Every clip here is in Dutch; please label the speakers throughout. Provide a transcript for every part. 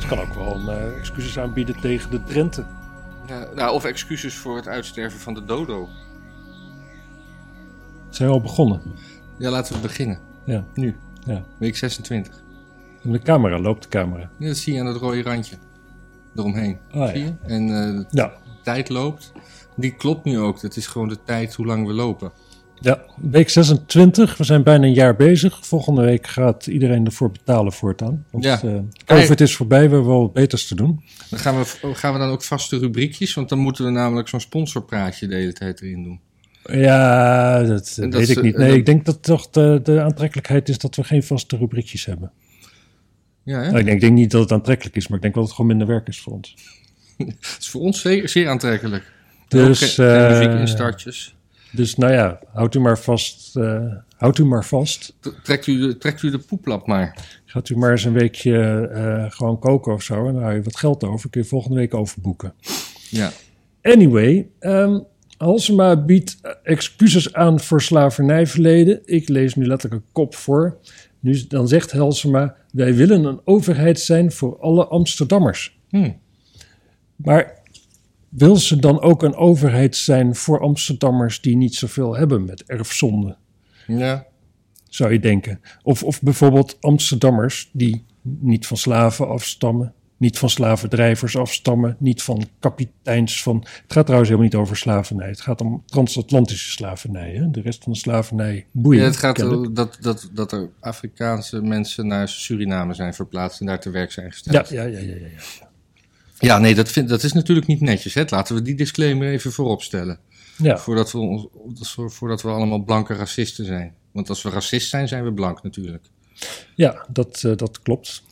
Speaker 1: Ze kan ook gewoon eh, excuses aanbieden tegen de Drenthe.
Speaker 2: Ja, nou, of excuses voor het uitsterven van de dodo.
Speaker 1: Zijn we al begonnen?
Speaker 2: Ja, laten we beginnen.
Speaker 1: Ja.
Speaker 2: Nu.
Speaker 1: Ja.
Speaker 2: Week 26.
Speaker 1: En de camera, loopt de camera.
Speaker 2: Ja, dat zie je aan het rode randje. Eromheen.
Speaker 1: Ah,
Speaker 2: zie
Speaker 1: ja.
Speaker 2: je? En eh, de
Speaker 1: Ja.
Speaker 2: tijd loopt. Die klopt nu ook. Dat is gewoon de tijd hoe lang we lopen.
Speaker 1: ja, week 26. We zijn bijna een jaar bezig. Volgende week gaat iedereen ervoor betalen voortaan. Want
Speaker 2: Ja.
Speaker 1: ja. COVID is voorbij, we hebben wel wat beters te doen.
Speaker 2: Dan gaan we, gaan we dan ook vaste rubriekjes? Want dan moeten we namelijk zo'n sponsorpraatje de hele tijd erin doen.
Speaker 1: Ja, dat, eh,
Speaker 2: En dat
Speaker 1: weet
Speaker 2: ze-
Speaker 1: ik niet.
Speaker 2: en
Speaker 1: Nee,
Speaker 2: dat-
Speaker 1: ik denk dat toch de, de aantrekkelijkheid is dat we geen vaste rubriekjes hebben.
Speaker 2: Ja, hè?
Speaker 1: Nou, ik, denk, ik denk niet dat het aantrekkelijk is, maar ik denk wel dat het gewoon minder werk is voor ons.
Speaker 2: Dat is voor ons zeer, zeer aantrekkelijk.
Speaker 1: Dus,
Speaker 2: Ook geen- geen muziek
Speaker 1: eh,
Speaker 2: in startjes.
Speaker 1: Dus nou ja, houdt u maar vast. eh, houdt u maar vast.
Speaker 2: T- Trekt u, de, trekt u de poeplap maar.
Speaker 1: Gaat u maar eens een weekje eh, gewoon koken of zo. En dan hou je wat geld over. Kun je volgende week overboeken.
Speaker 2: Ja.
Speaker 1: Anyway, ehm Halsema biedt eh, excuses aan voor slavernijverleden. Ik lees nu letterlijk een kop voor. Nu, dan zegt Halsema, wij willen een overheid zijn voor alle Amsterdammers.
Speaker 2: Hm.
Speaker 1: Maar wil ze dan ook een overheid zijn voor Amsterdammers die niet zoveel hebben met erfzonde?
Speaker 2: Ja.
Speaker 1: zou je denken. Of, of bijvoorbeeld Amsterdammers die niet van slaven afstammen, niet van slavendrijvers afstammen, niet van kapiteins van... Het gaat trouwens helemaal niet over slavernij. Het gaat om transatlantische slavernij. Hè? De rest van de slavernij boeit.
Speaker 2: Ja, het gaat
Speaker 1: kennelijk.
Speaker 2: erom dat, dat, dat er Afrikaanse mensen naar Suriname zijn verplaatst en daar te werk zijn gesteld.
Speaker 1: ja, ja, ja, ja, ja, ja.
Speaker 2: Ja, nee, dat, vind, dat is natuurlijk niet netjes. Hè? Laten we die disclaimer even voorop stellen.
Speaker 1: Ja,
Speaker 2: Voordat, we ons, voor- voordat we allemaal blanke racisten zijn. Want als we racist zijn, zijn we blank natuurlijk.
Speaker 1: ja dat, eh, dat klopt.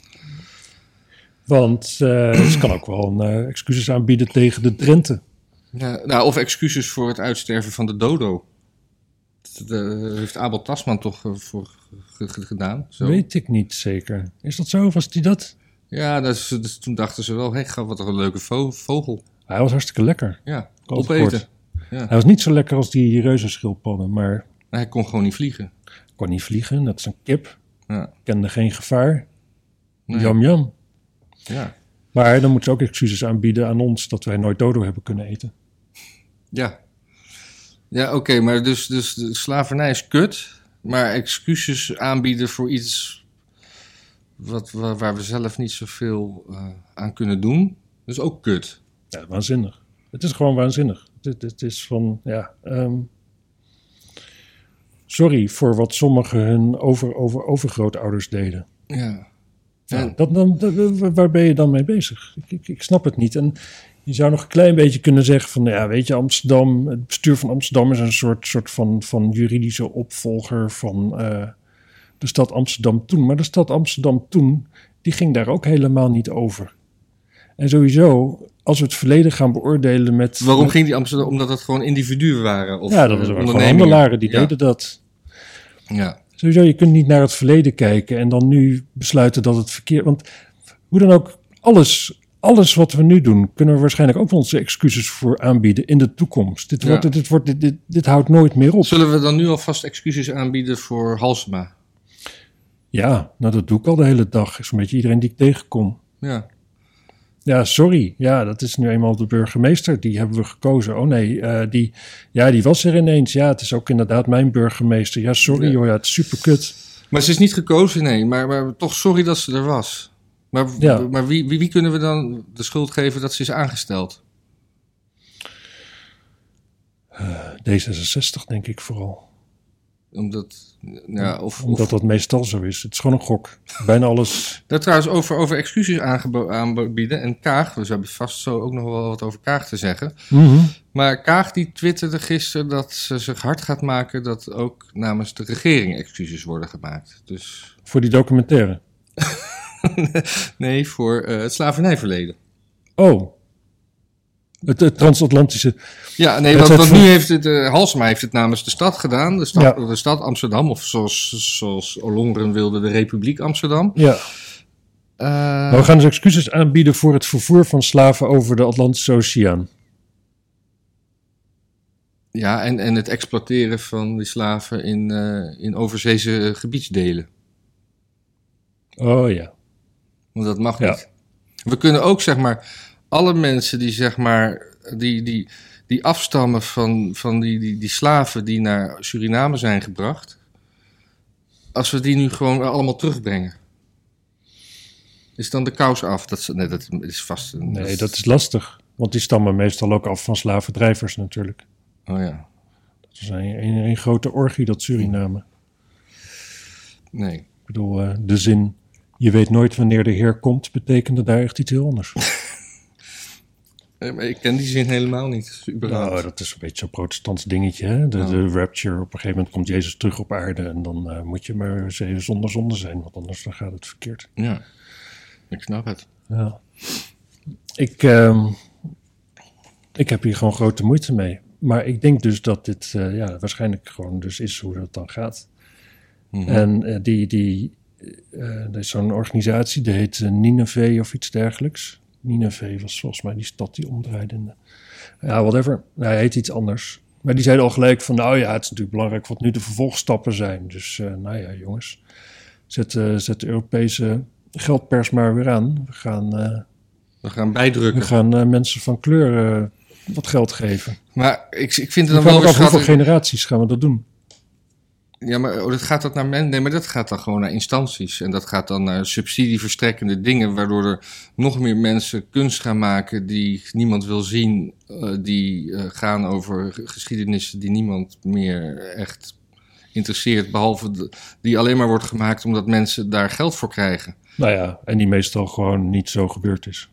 Speaker 1: Want eh, ze kan ook wel een, eh, excuses aanbieden tegen de Drenthe.
Speaker 2: Ja, nou, of excuses voor het uitsterven van de dodo. Dat eh, heeft Abel Tasman toch eh, voor ge- ge- gedaan. Zo.
Speaker 1: Weet ik niet zeker. Is dat zo? Was die dat?
Speaker 2: Ja, dat is- dus toen dachten ze wel, hé, hey, wat een leuke vo- vogel.
Speaker 1: Hij was hartstikke lekker.
Speaker 2: Ja,
Speaker 1: Kort,
Speaker 2: opeten.
Speaker 1: kort. Hij was niet zo lekker als die reuzenschildpadden, maar
Speaker 2: Hij kon gewoon niet vliegen.
Speaker 1: Kon niet vliegen, net als een kip.
Speaker 2: Ja,
Speaker 1: Kende geen gevaar.
Speaker 2: Nee.
Speaker 1: Jam jam.
Speaker 2: ja.
Speaker 1: Maar dan moeten ze ook excuses aanbieden aan ons dat wij nooit dodo hebben kunnen eten.
Speaker 2: Ja. Ja, oké, maar dus, dus de slavernij is kut. Maar excuses aanbieden voor iets wat, wa- waar, we zelf niet zoveel eh, aan kunnen doen, dat is ook kut.
Speaker 1: Ja, waanzinnig. Het is gewoon waanzinnig. Het, het is van, ja... ehm, sorry voor wat sommigen hun over, over, overgrootouders deden.
Speaker 2: Ja.
Speaker 1: Ja.
Speaker 2: En-
Speaker 1: dat, dan, dat- waar ben je dan mee bezig? Ik, ik, ik snap het niet. En je zou nog een klein beetje kunnen zeggen van, ja, weet je, Amsterdam, het bestuur van Amsterdam is een soort, soort van, van juridische opvolger van eh, de stad Amsterdam toen. Maar de stad Amsterdam toen, die ging daar ook helemaal niet over. En sowieso, als we het verleden gaan beoordelen met...
Speaker 2: Waarom
Speaker 1: met-
Speaker 2: ging die Amsterdam? Omdat dat gewoon individuen waren? Of
Speaker 1: ja, dat
Speaker 2: eh,
Speaker 1: waren gewoon
Speaker 2: ondernemingen.
Speaker 1: handelaren, die
Speaker 2: Ja.
Speaker 1: deden dat.
Speaker 2: Ja.
Speaker 1: Sowieso, je kunt niet naar het verleden kijken en dan nu besluiten dat het verkeerd... Want hoe dan ook, alles, alles wat we nu doen, kunnen we waarschijnlijk ook onze excuses voor aanbieden in de toekomst. Dit,
Speaker 2: Ja.
Speaker 1: wordt, dit, wordt, dit, dit, dit houdt nooit meer op.
Speaker 2: Zullen we dan nu alvast excuses aanbieden voor Halsema?
Speaker 1: Ja, nou dat doe ik al de hele dag. Is een beetje iedereen die ik tegenkom.
Speaker 2: Ja.
Speaker 1: Ja, sorry. Ja, dat is nu eenmaal de burgemeester. Die hebben we gekozen. Oh nee, eh, die, ja, die was er ineens. Ja, het is ook inderdaad mijn burgemeester. Ja, sorry
Speaker 2: Ja.
Speaker 1: hoor. Ja, het is super kut.
Speaker 2: Maar ze is niet gekozen, nee. Maar, maar toch sorry dat ze er was. Maar,
Speaker 1: Ja.
Speaker 2: maar wie, wie, wie kunnen we dan de schuld geven dat ze is aangesteld?
Speaker 1: D66 denk ik vooral.
Speaker 2: Omdat, ja, of, of
Speaker 1: Omdat dat meestal zo is. Het is gewoon een gok. Bijna alles
Speaker 2: daar trouwens over, over excuses aangebo- aanbieden. En Kaag, dus we hebben vast zo ook nog wel wat over Kaag te zeggen. Maar Kaag die twitterde gisteren dat ze zich hard gaat maken dat ook namens de regering excuses worden gemaakt. Dus
Speaker 1: Voor die documentaire.
Speaker 2: nee, voor eh, het slavernijverleden.
Speaker 1: Oh. Het, het transatlantische.
Speaker 2: Ja,
Speaker 1: Het
Speaker 2: nee, want,
Speaker 1: had
Speaker 2: want
Speaker 1: voor-
Speaker 2: nu heeft het, eh, Halsema heeft het namens de stad gedaan. De stad,
Speaker 1: Ja.
Speaker 2: de stad Amsterdam, of zoals, zoals Ollongren wilde, de Republiek Amsterdam.
Speaker 1: Ja.
Speaker 2: Eh,
Speaker 1: Maar we gaan dus excuses aanbieden voor het vervoer van slaven over de Atlantische Oceaan.
Speaker 2: Ja, en, en het exploiteren van die slaven in, eh, in overzeese gebiedsdelen.
Speaker 1: Oh ja.
Speaker 2: Want dat mag
Speaker 1: Ja.
Speaker 2: niet. We kunnen ook, zeg maar, alle mensen die, zeg maar, die, die, die afstammen van, van die, die, die slaven die naar Suriname zijn gebracht, als we die nu gewoon allemaal terugbrengen. Is dan de kous af? Dat, is- nee, dat is vast. een-
Speaker 1: Nee, dat is lastig. Want die stammen meestal ook af van slavendrijvers natuurlijk.
Speaker 2: Oh ja.
Speaker 1: Dat is een, een, een grote orgie, dat Suriname.
Speaker 2: Nee.
Speaker 1: Ik bedoel, eh, de zin... Je weet nooit wanneer de heer komt, betekende daar echt iets heel anders.
Speaker 2: Eh, maar Ik ken die zin helemaal niet. Überhaupt.
Speaker 1: Nou, dat is een beetje zo'n protestants dingetje. Hè? De, de rapture, op een gegeven moment komt Jezus terug op aarde... en dan eh, moet je maar eens even zonder zonde zijn, want anders dan gaat het verkeerd.
Speaker 2: Ja. Ik snap het.
Speaker 1: Ja. Ik, ehm, ik heb hier gewoon grote moeite mee. Maar ik denk dus dat dit eh, ja, waarschijnlijk gewoon dus is hoe dat dan gaat.
Speaker 2: Mhm.
Speaker 1: En eh, die, die, eh, er is zo'n organisatie, die heet eh, Nineveh of iets dergelijks. Nineveh was volgens mij die stad die omdraaide. in de- Ja, whatever. Nou, hij heet iets anders. Maar die zeiden al gelijk van, nou ja, het is natuurlijk belangrijk wat nu de vervolgstappen zijn. Dus eh, nou ja, jongens, zet, eh, zet de Europese geldpers maar weer aan. We gaan, eh,
Speaker 2: We gaan
Speaker 1: we
Speaker 2: bijdrukken.
Speaker 1: gaan eh, mensen van kleur eh, wat geld geven.
Speaker 2: Maar ik, ik vind
Speaker 1: Dan
Speaker 2: het dan
Speaker 1: vraag
Speaker 2: wel
Speaker 1: ik
Speaker 2: weer
Speaker 1: af hoeveel
Speaker 2: schattig.
Speaker 1: generaties gaan we dat doen.
Speaker 2: Ja, maar oh, dat gaat dat naar men. Nee, maar dat gaat dan gewoon naar instanties. En dat gaat dan naar subsidieverstrekkende dingen, waardoor er nog meer mensen kunst gaan maken die niemand wil zien. eh, die eh, gaan over ge- geschiedenissen die niemand meer echt interesseert. Behalve de- die alleen maar wordt gemaakt omdat mensen daar geld voor krijgen.
Speaker 1: Nou ja, en die meestal gewoon niet zo gebeurd is.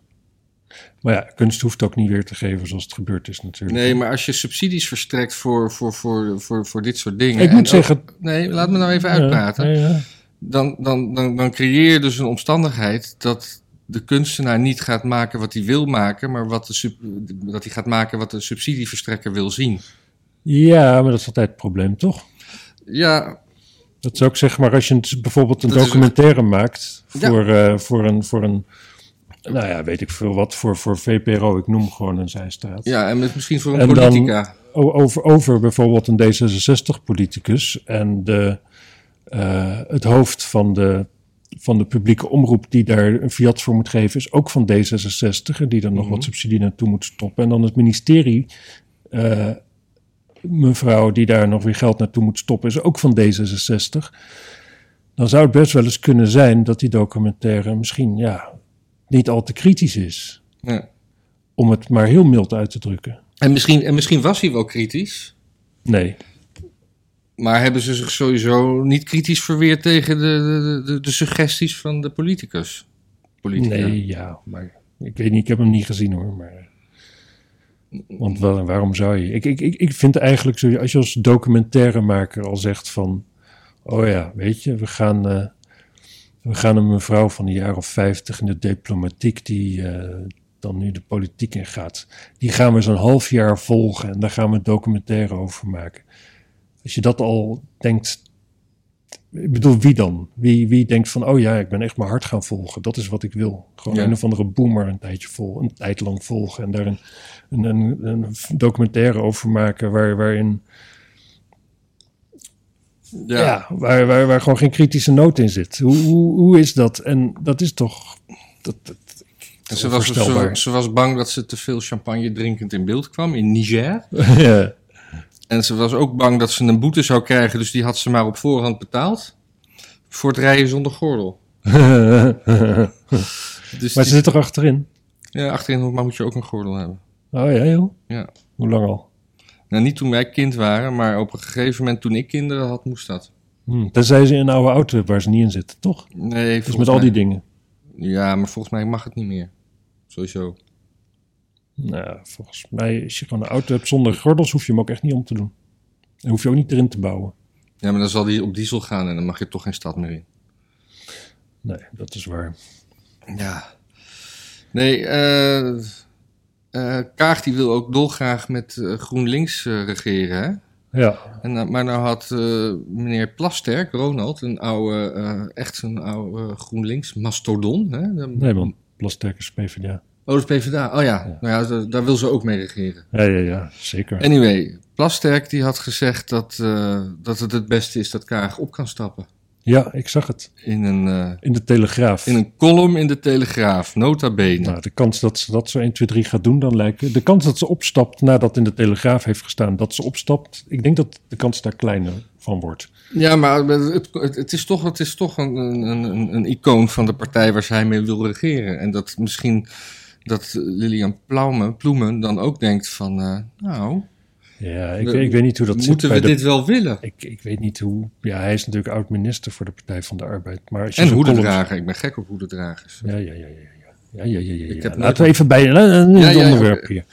Speaker 1: Maar ja, kunst hoeft ook niet weer te geven zoals het gebeurd is natuurlijk.
Speaker 2: Nee, maar als je subsidies verstrekt voor, voor, voor, voor, voor dit soort dingen.
Speaker 1: ik
Speaker 2: en
Speaker 1: moet
Speaker 2: ook-
Speaker 1: zeggen... eh,
Speaker 2: Nee, laat me nou even uitpraten.
Speaker 1: Ja, ja, ja.
Speaker 2: dan, dan, dan, dan creëer je dus een omstandigheid dat de kunstenaar niet gaat maken wat hij wil maken, maar wat de sub- dat hij gaat maken wat de subsidieverstrekker wil zien.
Speaker 1: Ja, maar dat is altijd het probleem, toch?
Speaker 2: Ja,
Speaker 1: Dat is ook zeg maar als je het- bijvoorbeeld een
Speaker 2: Dat is
Speaker 1: documentaire maakt
Speaker 2: Ja.
Speaker 1: voor, eh, voor, een, voor een... Nou ja, weet ik veel wat, voor, voor VPRO, ik noem gewoon een zijstraat.
Speaker 2: ja en met- misschien voor een
Speaker 1: En dan-
Speaker 2: politica.
Speaker 1: O- over, over bijvoorbeeld een D66-politicus en de, eh, het hoofd van de, van de publieke omroep die daar een fiat voor moet geven, is ook van D66, en die dan nog wat subsidie naartoe moet stoppen. En dan het ministerie, eh, mevrouw die daar nog weer geld naartoe moet stoppen, is ook van D66. Dan zou het best wel eens kunnen zijn dat die documentaire misschien ja, niet al te kritisch is.
Speaker 2: Ja.
Speaker 1: Om het maar heel mild uit te drukken.
Speaker 2: En, misschien, en misschien was hij wel kritisch,
Speaker 1: Nee.
Speaker 2: maar hebben ze zich sowieso niet kritisch verweerd tegen de, de, de, de suggesties van de politicus? Politica.
Speaker 1: Nee, ja, maar ik weet niet, ik heb hem niet gezien hoor. Maar, want wel, waarom zou je? Ik, ik, ik, ik vind eigenlijk, zo, als je als documentairemaker al zegt van, oh ja, weet je, we gaan, eh, we gaan een mevrouw van een jaar of 50 in de diplomatiek die eh, dan nu de politiek in gaat, die gaan we zo'n half jaar volgen en daar gaan we een documentaire over maken. Als je dat al denkt, ik bedoel, wie dan? Wie, wie denkt van, oh ja, ik ben echt mijn hart gaan volgen. Dat is wat ik wil. Gewoon
Speaker 2: Ja.
Speaker 1: een of andere boomer een tijdje vol, een tijd lang volgen. En daar een, een, een, een documentaire over maken waar, waarin, ja.
Speaker 2: ja.
Speaker 1: waar, waar, waar gewoon geen kritische noot in zit. Hoe, hoe, hoe is dat? En dat is toch... Dat, dat,
Speaker 2: En Ze, was, ze,
Speaker 1: onvoorstelbaar.
Speaker 2: ze was bang dat ze te veel champagne drinkend in beeld kwam in Niger.
Speaker 1: ja.
Speaker 2: En ze was ook bang dat ze een boete zou krijgen, dus die had ze maar op voorhand betaald. Voor het rijden zonder gordel. Dus
Speaker 1: maar ze
Speaker 2: die-
Speaker 1: zit er achterin.
Speaker 2: ja, achterin maar moet je ook een gordel hebben.
Speaker 1: Oh ja, joh.
Speaker 2: Ja.
Speaker 1: Hoe lang al?
Speaker 2: Nou, niet toen wij kind waren, maar op een gegeven moment toen ik kinderen had, moest dat.
Speaker 1: Hm. Tenzij ze in een oude auto waar ze niet in zitten, toch?
Speaker 2: Nee,
Speaker 1: Dus
Speaker 2: volgens
Speaker 1: met al die
Speaker 2: mij-
Speaker 1: dingen.
Speaker 2: Ja, maar volgens mij mag het niet meer. Sowieso.
Speaker 1: Nou, volgens mij, als je gewoon een auto hebt zonder gordels, hoef je hem ook echt niet om te doen. En hoef je ook niet erin te bouwen.
Speaker 2: Ja, maar dan zal die op diesel gaan en dan mag je toch geen stad meer in.
Speaker 1: Nee, dat is waar.
Speaker 2: Ja. Nee, eh eh, Kaag die wil ook dolgraag met eh, GroenLinks eh, regeren, hè?
Speaker 1: Ja,
Speaker 2: En, eh, maar nou had eh, meneer Plasterk, Ronald, een oude, eh, echt een oude eh, GroenLinks mastodon. Hè? De-
Speaker 1: nee man, plasterkers PvdA.
Speaker 2: Oh, dat is PvdA. Oh ja, Nou ja da- daar wil ze ook mee regeren.
Speaker 1: Ja, ja, ja, zeker.
Speaker 2: Anyway, Plasterk die had gezegd dat, eh, dat het het beste is dat Kaag op kan stappen.
Speaker 1: Ja, ik zag het.
Speaker 2: In een, eh,
Speaker 1: In de Telegraaf.
Speaker 2: in een column in de Telegraaf, nota bene.
Speaker 1: Nou, de kans dat ze dat zo 1, 2, 3 gaat doen, dan lijkt de kans dat ze opstapt nadat in de Telegraaf heeft gestaan, dat ze opstapt, ik denk dat de kans daar kleiner van wordt.
Speaker 2: Ja, maar het, het, het is toch, het is toch een, een, een, een icoon van de partij waar zij mee wil regeren. En dat misschien dat Lilian Ploumen, Ploemen dan ook denkt van, eh, nou,
Speaker 1: Ja, ik,
Speaker 2: We-
Speaker 1: weet- ik weet niet hoe dat zit.
Speaker 2: moeten
Speaker 1: bij
Speaker 2: we
Speaker 1: de-
Speaker 2: dit wel willen?
Speaker 1: ik, ik weet niet hoe. Ja, hij is natuurlijk oud minister voor de Partij van de Arbeid. Maar als je
Speaker 2: En
Speaker 1: zo'n column-
Speaker 2: hoedendrager, ik ben gek op hoedendragers.
Speaker 1: Ja, ja, ja, ja. ja. Ja, ja, ja, ja, ja.
Speaker 2: Ik heb nooit-
Speaker 1: Laten we even bij een, een
Speaker 2: Ja, ja, ja.
Speaker 1: onderwerp hier.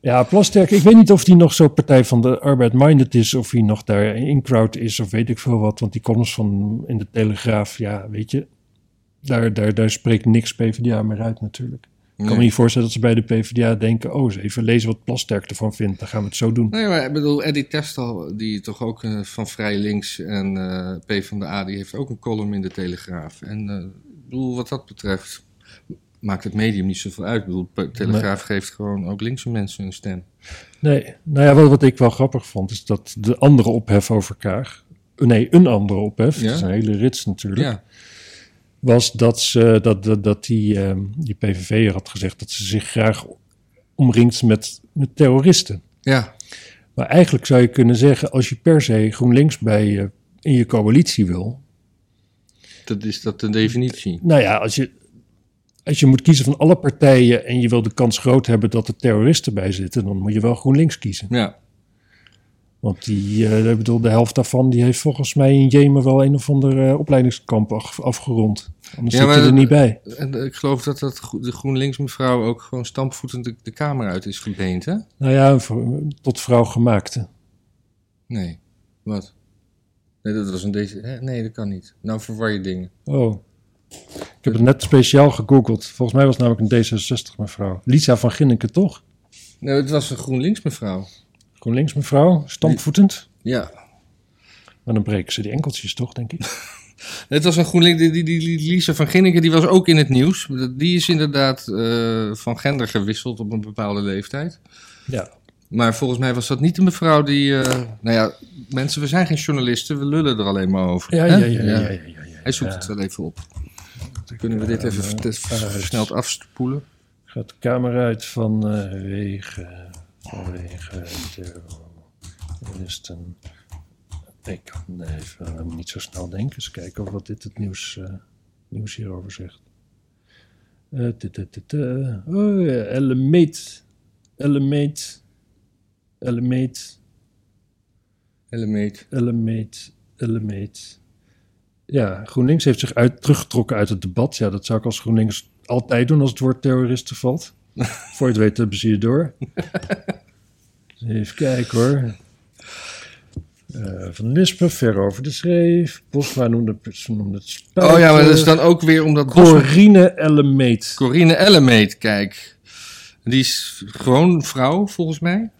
Speaker 1: Ja, Plasterk, ik weet niet of die nog zo Partij van de Arbeid-minded is... of hij nog daar in crowd is of weet ik veel wat. Want die columns van in de Telegraaf, ja, weet je... daar, daar, daar spreekt niks PvdA meer uit natuurlijk. Ik kan me
Speaker 2: Nee.
Speaker 1: niet voorstellen dat ze bij de PvdA denken... oh, eens even lezen wat Plasterk ervan vindt, dan gaan we het zo doen.
Speaker 2: Nee, maar ik bedoel, Eddie Testal, die toch ook eh, van Vrij Links en eh P van de A, die heeft ook een column in de Telegraaf. En eh, ik bedoel, wat dat betreft maakt het medium niet zoveel uit. Ik bedoel, P- Telegraaf geeft gewoon ook linkse mensen een stem.
Speaker 1: Nee, nou ja, wat, wat ik wel grappig vond... is dat de andere ophef over Kaag... nee, een andere ophef,
Speaker 2: Ja.
Speaker 1: dat is een hele rits natuurlijk...
Speaker 2: Ja,
Speaker 1: was dat, ze, dat, dat, dat die, ehm, die PVV'er had gezegd dat ze zich graag omringt met, met terroristen.
Speaker 2: ja.
Speaker 1: Maar eigenlijk zou je kunnen zeggen, als je per se GroenLinks bij je in je coalitie wil,
Speaker 2: Dat is dat de definitie.
Speaker 1: nou ja, als je, als je moet kiezen van alle partijen en je wil de kans groot hebben dat er terroristen bij zitten, dan moet je wel GroenLinks kiezen.
Speaker 2: Ja,
Speaker 1: Want die, eh, ik bedoel, de helft daarvan die heeft volgens mij in Jemen wel een of ander eh, opleidingskamp af- afgerond. Anders zit
Speaker 2: Ja,
Speaker 1: je
Speaker 2: maar
Speaker 1: er
Speaker 2: dat-
Speaker 1: niet bij.
Speaker 2: en eh, ik geloof dat, dat gro- de GroenLinks mevrouw ook gewoon stampvoetend de, de kamer uit is gebeend, hè?
Speaker 1: Nou ja, voor- tot vrouw gemaakte.
Speaker 2: Nee, wat? Nee, dat was een deze. hè? Nee, dat kan niet. Nou verwar je dingen.
Speaker 1: Oh. Ik heb het net speciaal gegoogeld. Volgens mij was het namelijk een D66 mevrouw. Lisa van Ginneken, toch?
Speaker 2: Nee, het was een GroenLinks mevrouw.
Speaker 1: GroenLinks mevrouw, stampvoetend.
Speaker 2: Ja,
Speaker 1: Maar dan breken ze die enkeltjes toch, denk ik.
Speaker 2: Het was een GroenLinks, die, die, die, die Lisa van Ginneken, die was ook in het nieuws. Die is inderdaad eh, van gender gewisseld op een bepaalde leeftijd.
Speaker 1: Ja.
Speaker 2: Maar volgens mij was dat niet de mevrouw die... eh, nou ja, mensen, we zijn geen journalisten, we lullen er alleen maar over.
Speaker 1: Ja,
Speaker 2: hè?
Speaker 1: ja, ja, ja, ja, ja, ja, eh, ja.
Speaker 2: Hij zoekt het wel even op. Kunnen we dit even vert- versneld afspoelen?
Speaker 1: Gaat de kamer uit van eh, wegen, vanwege terroristen. Ik kan even eh, niet zo snel denken. Eens kijken of wat dit het nieuws, eh, nieuws hierover zegt. Eh, dit, dit, dit, eh, Oh ja, Ellemeet. Ellemeet. Ellemeet.
Speaker 2: Element.
Speaker 1: Ellemeet, Ellemeet. Ja, GroenLinks heeft zich uit, teruggetrokken uit het debat. Ja, dat zou ik als GroenLinks altijd doen als het woord terroristen valt. Voor je het weet hebben ze je door. Dus Even kijken hoor. Eh, Van Lispen, ver over de schreef. Bosma noemde, ze noemde het spel.
Speaker 2: Oh ja, maar dat is dan ook weer omdat... Bos-
Speaker 1: Corine Ellemeet.
Speaker 2: Corine Ellemeet, kijk. Die is gewoon vrouw, volgens mij.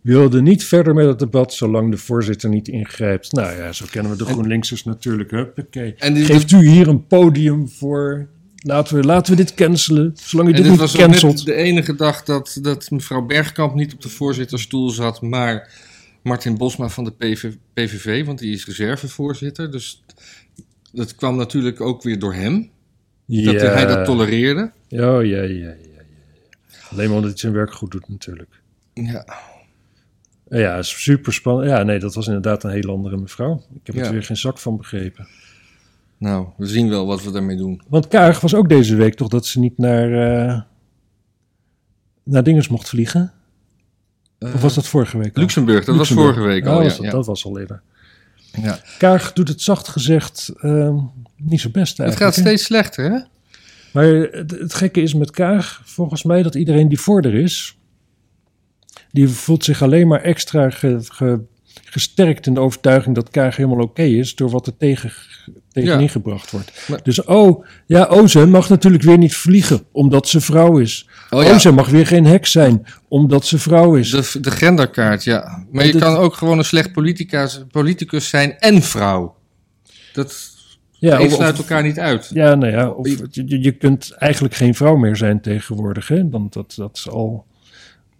Speaker 1: Wilde niet verder met het debat zolang de voorzitter niet ingrijpt. Nou ja, zo kennen we de GroenLinksers natuurlijk. Huppakee.
Speaker 2: En die,
Speaker 1: Geeft u hier een podium voor? Laten we, laten we dit cancelen. Zolang je
Speaker 2: En
Speaker 1: dit
Speaker 2: dit
Speaker 1: niet
Speaker 2: was ook net
Speaker 1: cancelt.
Speaker 2: de enige dag dat, dat mevrouw Bergkamp niet op de voorzittersstoel zat, maar Martin Bosma van de PV, PVV, want die is reservevoorzitter. Dus dat kwam natuurlijk ook weer door hem,
Speaker 1: Ja.
Speaker 2: dat hij dat tolereerde.
Speaker 1: Oh, ja, ja, ja, ja. Alleen maar omdat hij zijn werk goed doet natuurlijk. Eh,
Speaker 2: Ja,
Speaker 1: Ja, super spannend. Ja, nee, dat was inderdaad een heel andere mevrouw. Ik heb
Speaker 2: Ja.
Speaker 1: er weer geen zak van begrepen.
Speaker 2: nou, we zien wel wat we daarmee doen.
Speaker 1: Want Kaag was ook deze week toch dat ze niet naar, eh naar dinges mocht vliegen? of was dat vorige week al?
Speaker 2: Eh, Luxemburg, dat
Speaker 1: Luxemburg.
Speaker 2: was vorige week
Speaker 1: Oh,
Speaker 2: al.
Speaker 1: was
Speaker 2: Ja,
Speaker 1: dat,
Speaker 2: ja.
Speaker 1: dat was al eerder.
Speaker 2: Ja.
Speaker 1: Kaag doet het zacht gezegd eh, niet zo best eigenlijk.
Speaker 2: Het gaat
Speaker 1: hè?
Speaker 2: steeds slechter, hè?
Speaker 1: Maar het, het gekke is met Kaag, volgens mij, dat iedereen die voor er is, die voelt zich alleen maar extra ge- ge- gesterkt in de overtuiging dat Kaag helemaal oké is door wat er tegen, tegenin
Speaker 2: Ja.
Speaker 1: gebracht wordt.
Speaker 2: Maar-
Speaker 1: Dus oh, ja, oh, ze mag natuurlijk weer niet vliegen omdat ze vrouw is.
Speaker 2: Oh
Speaker 1: Oh,
Speaker 2: ja,
Speaker 1: ze mag weer geen heks zijn omdat ze vrouw is.
Speaker 2: de, de genderkaart, ja. Maar je
Speaker 1: dit-
Speaker 2: kan ook gewoon een slecht politica- politicus zijn en vrouw. Dat
Speaker 1: ja,
Speaker 2: het
Speaker 1: of-
Speaker 2: sluit
Speaker 1: of-
Speaker 2: elkaar niet uit.
Speaker 1: Ja, nou ja, of, je, je kunt eigenlijk geen vrouw meer zijn tegenwoordig. Hè? Want dat, dat is al.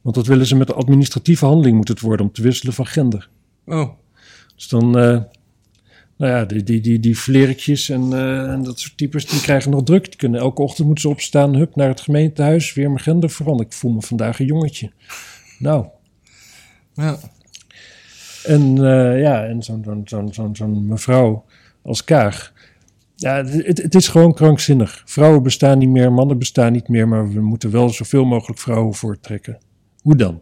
Speaker 1: Want dat willen ze met de administratieve handeling moet het worden om te wisselen van gender.
Speaker 2: Oh,
Speaker 1: Dus dan, eh, nou ja, die, die, die, die flerkjes en, eh, en dat soort types, die krijgen nog druk. Die kunnen elke ochtend moeten ze opstaan, hup, naar het gemeentehuis, weer mijn gender veranderen. Ik voel me vandaag een jongetje. Nou,
Speaker 2: Ja.
Speaker 1: en eh, ja, en zo'n zo'n zo'n zo'n zo'n mevrouw als Kaag. Ja, het, het is gewoon krankzinnig. Vrouwen bestaan niet meer, mannen bestaan niet meer, maar we moeten wel zoveel mogelijk vrouwen voorttrekken. Hoe dan?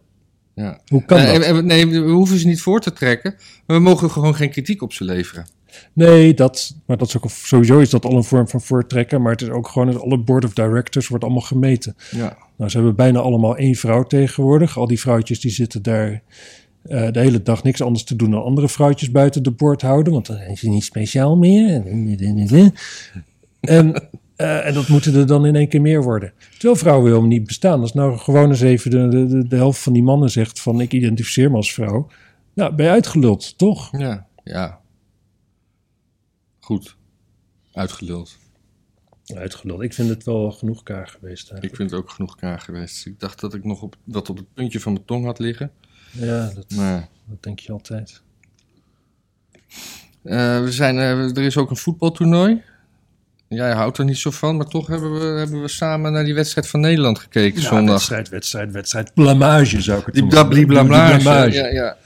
Speaker 2: ja.
Speaker 1: Hoe kan
Speaker 2: Eh,
Speaker 1: dat?
Speaker 2: eh, nee, we hoeven ze niet voor te trekken. Maar we mogen gewoon geen kritiek op ze leveren.
Speaker 1: Nee, dat, maar dat is ook, sowieso is dat al een vorm van voortrekken, maar het is ook gewoon, alle board of directors wordt allemaal gemeten.
Speaker 2: Ja.
Speaker 1: Nou, ze hebben bijna allemaal één vrouw tegenwoordig. Al die vrouwtjes die zitten daar eh, de hele dag niks anders te doen dan andere vrouwtjes buiten de boord houden. Want dan zijn ze niet speciaal meer. En, eh, en dat moeten er dan in één keer meer worden. Terwijl vrouwen helemaal niet bestaan. Als nou gewoon eens even de, de- de, de helft van die mannen zegt van ik identificeer me als vrouw. Nou, ben je uitgeluld, toch?
Speaker 2: Ja. Ja. Goed. Uitgeluld.
Speaker 1: Uitgeluld. Ik vind het wel genoeg kaar geweest.
Speaker 2: Ik vind het ook genoeg kaar geweest. Ik dacht dat ik nog op, wat op het puntje van mijn tong had liggen.
Speaker 1: Ja, dat,
Speaker 2: Maar
Speaker 1: dat denk je altijd.
Speaker 2: eh, we zijn, eh, er is ook een voetbaltoernooi. Jij houdt er niet zo van, maar toch hebben we, hebben we samen naar die wedstrijd van Nederland gekeken
Speaker 1: Ja,
Speaker 2: zondag.
Speaker 1: wedstrijd, wedstrijd, wedstrijd. Blamage zou ik het
Speaker 2: Die
Speaker 1: noemen.
Speaker 2: blabli blamage.
Speaker 1: Die blamage.
Speaker 2: Ja, ja.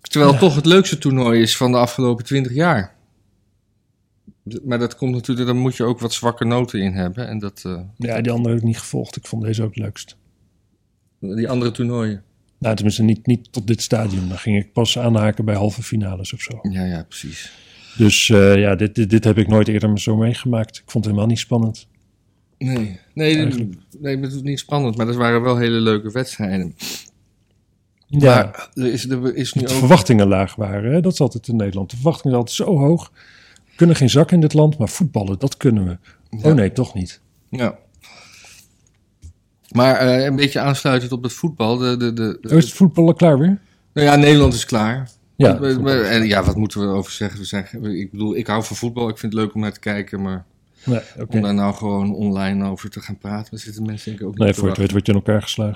Speaker 2: Terwijl het toch het leukste toernooi is van de afgelopen 20 jaar. D- Maar dat komt natuurlijk, daar moet je ook wat zwakke noten in hebben. En dat, eh,
Speaker 1: Ja, die andere heb ik niet gevolgd. Ik vond deze ook het leukst.
Speaker 2: die andere toernooien.
Speaker 1: Nou, tenminste, niet, niet tot dit stadium. Dan ging ik pas aanhaken bij halve finales of zo.
Speaker 2: Ja, ja, precies.
Speaker 1: Dus eh, ja, dit, dit, dit heb ik nooit eerder zo meegemaakt. Ik vond het helemaal niet spannend.
Speaker 2: Nee, nee, nee,
Speaker 1: Eigenlijk.
Speaker 2: nee het is niet spannend, maar dat waren wel hele leuke wedstrijden.
Speaker 1: Ja,
Speaker 2: Maar er is, er is nu
Speaker 1: de
Speaker 2: ook...
Speaker 1: verwachtingen laag waren. Hè? Dat is altijd in Nederland. De verwachtingen zijn altijd zo hoog. We kunnen geen zak in dit land, maar voetballen, dat kunnen we.
Speaker 2: Ja.
Speaker 1: Oh nee, toch niet.
Speaker 2: Ja. Maar eh, een beetje aansluitend op het voetbal. De, de, de,
Speaker 1: Oh, is het voetballen klaar weer?
Speaker 2: nou ja, Nederland is klaar.
Speaker 1: Ja,
Speaker 2: We- we-
Speaker 1: voetbal.
Speaker 2: en ja, wat moeten we erover zeggen? We zijn, ge- ik bedoel, ik hou van voetbal. Ik vind het leuk om naar te kijken. Maar
Speaker 1: Nee, oké.
Speaker 2: om daar nou gewoon online over te gaan praten, daar zitten mensen denk ik ook
Speaker 1: nee
Speaker 2: niet
Speaker 1: voor je het
Speaker 2: te
Speaker 1: weet word je in elkaar geslagen.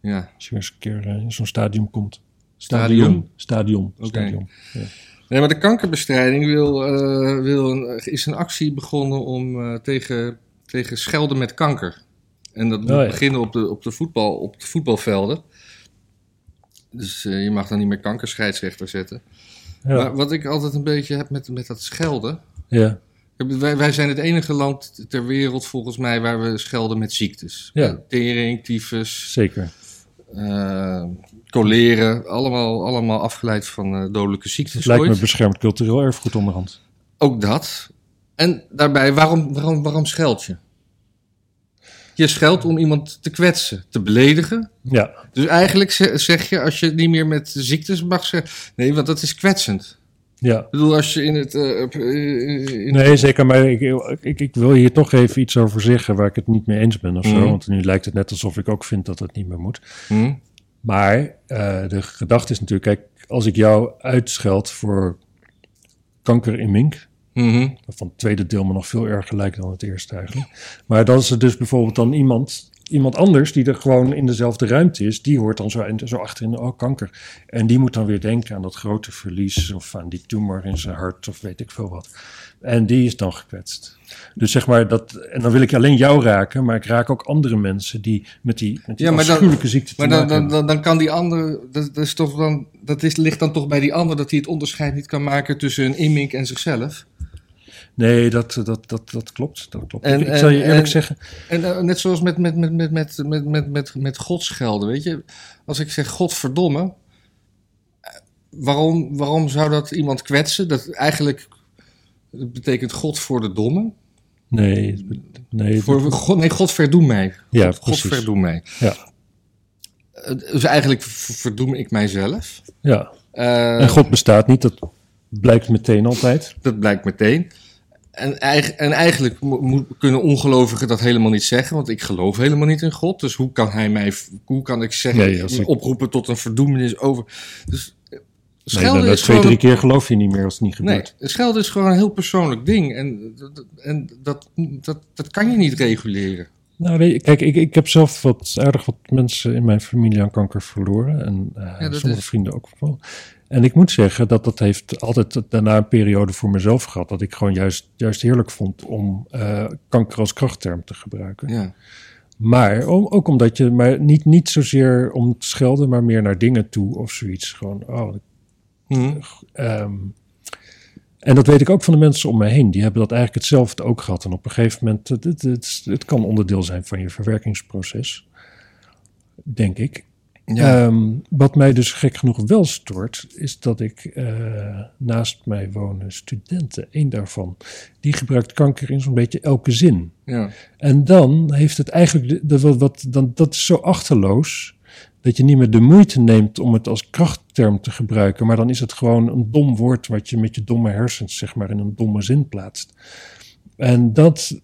Speaker 2: wachten. Ja.
Speaker 1: Als je weer eens een keer eh, in zo'n stadium komt.
Speaker 2: Stadion.
Speaker 1: Stadion.
Speaker 2: Oké.
Speaker 1: Stadion.
Speaker 2: Nee, maar de kankerbestrijding wil, eh, wil een, is een actie begonnen om eh, tegen, tegen schelden met kanker. En dat moet
Speaker 1: Oh ja.
Speaker 2: beginnen op de, op, de voetbal, op de voetbalvelden. Dus eh, je mag dan niet meer kankerscheidsrechter zetten.
Speaker 1: Ja.
Speaker 2: Maar wat ik altijd een beetje heb met, met dat schelden.
Speaker 1: ja.
Speaker 2: Ik heb- Wij, wij zijn het enige land ter wereld volgens mij waar we schelden met ziektes. Eh,
Speaker 1: Ja.
Speaker 2: Tering, tyfus,
Speaker 1: Zeker.
Speaker 2: eh, coleren. Allemaal, allemaal afgeleid van eh, dodelijke ziektes.
Speaker 1: Het lijkt
Speaker 2: ooit.
Speaker 1: me beschermd cultureel erfgoed onderhand.
Speaker 2: Ook dat. En daarbij, waarom, waarom, waarom scheld je? Je scheldt om iemand te kwetsen, te beledigen.
Speaker 1: Ja,
Speaker 2: Dus eigenlijk ze- zeg je, als je niet meer met ziektes mag zeggen... Nee, want dat is kwetsend.
Speaker 1: ja.
Speaker 2: Ik bedoel, als je in het... eh, eh, eh, in-
Speaker 1: Nee, zeker. Maar ik, ik, ik wil hier toch even iets over zeggen waar ik het niet mee eens ben of zo.
Speaker 2: Mhm.
Speaker 1: Want nu lijkt het net alsof ik ook vind dat het niet meer moet.
Speaker 2: Hm?
Speaker 1: Maar eh, de gedachte is natuurlijk, kijk, als ik jou uitscheld voor kanker in mink,
Speaker 2: Mhm.
Speaker 1: Van het tweede deel me nog veel erger lijkt dan het eerste eigenlijk. Maar dan is er dus bijvoorbeeld dan iemand, iemand anders die er gewoon in dezelfde ruimte is. Die hoort dan zo, zo achterin, oh kanker. En die moet dan weer denken aan dat grote verlies of aan die tumor in zijn hart of weet ik veel wat. En die is dan gekwetst. Dus zeg maar dat, en dan wil ik alleen jou raken, maar ik raak ook andere mensen die met die, met die
Speaker 2: Ja, maar dan-
Speaker 1: afschuwelijke ziekte te
Speaker 2: Maar dan,
Speaker 1: maken
Speaker 2: dan,
Speaker 1: hebben.
Speaker 2: dan, dan kan die ander... Dat, dat, is toch dan, dat is, ligt dan toch bij die ander dat hij het onderscheid niet kan maken... tussen een inmink en zichzelf.
Speaker 1: Nee, dat, dat, dat, dat klopt. Dat klopt.
Speaker 2: En-
Speaker 1: ik, ik zal je
Speaker 2: en-
Speaker 1: eerlijk
Speaker 2: en-
Speaker 1: zeggen,
Speaker 2: En eh, net zoals met, met, met, met, met, met, met, met, met godsgelden, weet je. Als ik zeg godverdomme, eh, waarom, waarom zou dat iemand kwetsen? Dat eigenlijk dat betekent god voor de domme.
Speaker 1: nee, het be- nee,
Speaker 2: Voor, God- nee, god verdoem mij.
Speaker 1: Ja,
Speaker 2: God, God
Speaker 1: precies.
Speaker 2: verdoem mij.
Speaker 1: Ja.
Speaker 2: Eh, Dus eigenlijk v- verdoem ik mijzelf.
Speaker 1: ja.
Speaker 2: Eh,
Speaker 1: En God bestaat niet, dat blijkt meteen altijd.
Speaker 2: Dat blijkt meteen. En, eig- en eigenlijk mo- moet- kunnen ongelovigen dat helemaal niet zeggen, want ik geloof helemaal niet in God. Dus hoe kan hij mij, v- hoe kan ik zeggen,
Speaker 1: Nee, als ik-
Speaker 2: oproepen tot een verdoemenis over. Dus eh,
Speaker 1: nee,
Speaker 2: schelden
Speaker 1: dan-
Speaker 2: is
Speaker 1: twee,
Speaker 2: gewoon.
Speaker 1: drie keer geloof je niet meer als het niet
Speaker 2: Nee,
Speaker 1: gebeurt.
Speaker 2: schelden is gewoon een heel persoonlijk ding. En, dat- en dat, dat, dat kan je niet reguleren.
Speaker 1: Nou, weet je, kijk, ik, ik heb zelf wat aardig wat mensen in mijn familie aan kanker verloren. En eh,
Speaker 2: Ja, dat
Speaker 1: sommige
Speaker 2: is-
Speaker 1: vrienden ook wel. En ik moet zeggen dat dat heeft altijd daarna een periode voor mezelf gehad. Dat ik gewoon juist, juist heerlijk vond om eh, kanker als krachtterm te gebruiken.
Speaker 2: Ja.
Speaker 1: Maar om- ook omdat je, maar niet, niet zozeer om te schelden, maar meer naar dingen toe of zoiets. Gewoon, oh,
Speaker 2: Hm.
Speaker 1: Ehm, en dat weet ik ook van de mensen om me heen. Die hebben dat eigenlijk hetzelfde ook gehad. En op een gegeven moment, het, het, het, het kan onderdeel zijn van je verwerkingsproces, denk ik.
Speaker 2: Ja.
Speaker 1: Ehm, wat mij dus gek genoeg wel stoort, is dat ik eh, naast mij wonen studenten, één daarvan, die gebruikt kanker in zo'n beetje elke zin.
Speaker 2: ja.
Speaker 1: En dan heeft het eigenlijk, de, de- wat, wat, dan, dat is zo achterloos, dat je niet meer de moeite neemt om het als krachtterm te gebruiken, maar dan is het gewoon een dom woord wat je met je domme hersens, zeg maar, in een domme zin plaatst. En dat,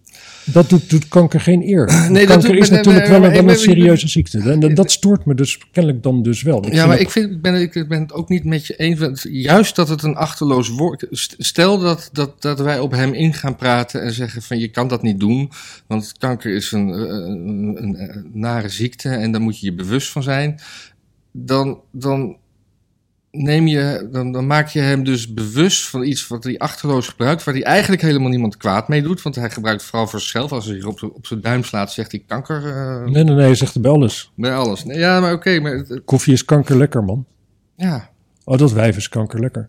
Speaker 1: dat doet, doet kanker geen eer.
Speaker 2: dat
Speaker 1: kanker
Speaker 2: doet-
Speaker 1: is
Speaker 2: maar-
Speaker 1: natuurlijk wel,
Speaker 2: maar- maar-
Speaker 1: een- wel
Speaker 2: maar-
Speaker 1: een serieuze ziekte. En dat, dat stoort me dus kennelijk dan dus wel. Ik
Speaker 2: ja,
Speaker 1: vind
Speaker 2: maar
Speaker 1: dat-
Speaker 2: ik, vind, ik, ben, ik ben het ook niet met je eens. want Juist dat het een achterloos woord... st- Stel dat, dat, dat wij op hem in gaan praten en zeggen van je kan dat niet doen. Want kanker is een, eh, een, een, eh, nare ziekte en daar moet je je bewust van zijn. Dan, dan, neem je, dan, dan maak je hem dus bewust van iets wat hij achterloos gebruikt. Waar hij eigenlijk helemaal niemand kwaad mee doet. Want hij gebruikt vooral voor zichzelf. Als hij zich op, z'n- op zijn duim slaat zegt hij kanker eh,
Speaker 1: Nee, nee, nee, je zegt de bel eens.
Speaker 2: bij alles. Nee, ja, maar oké. maar het- het-
Speaker 1: Koffie is kanker lekker, man.
Speaker 2: ja...
Speaker 1: Oh, dat wijf is kankerlekker.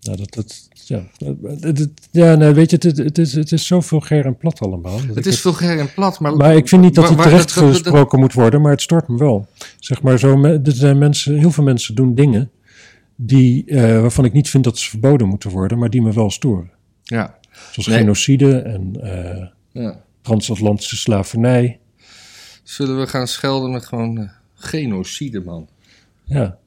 Speaker 1: Nou, dat, dat, ja. Het- het- ja, nee, weet je, het, het, is, het is zoveel ger en plat allemaal. dat ik
Speaker 2: Het is vulgair en plat, maar...
Speaker 1: maar ik vind niet dat
Speaker 2: Waar-
Speaker 1: hij
Speaker 2: waar-
Speaker 1: terecht
Speaker 2: dat- dat- dat-
Speaker 1: gesproken moet worden, maar het stort me wel. Zeg maar zo, me- er zijn mensen, heel veel mensen doen dingen die, eh, waarvan ik niet vind dat ze verboden moeten worden, maar die me wel storen.
Speaker 2: Ja,
Speaker 1: Zoals
Speaker 2: Nee.
Speaker 1: genocide en eh,
Speaker 2: ja.
Speaker 1: transatlantische slavernij.
Speaker 2: Zullen we gaan schelden met gewoon eh, genocide, man?
Speaker 1: Ja.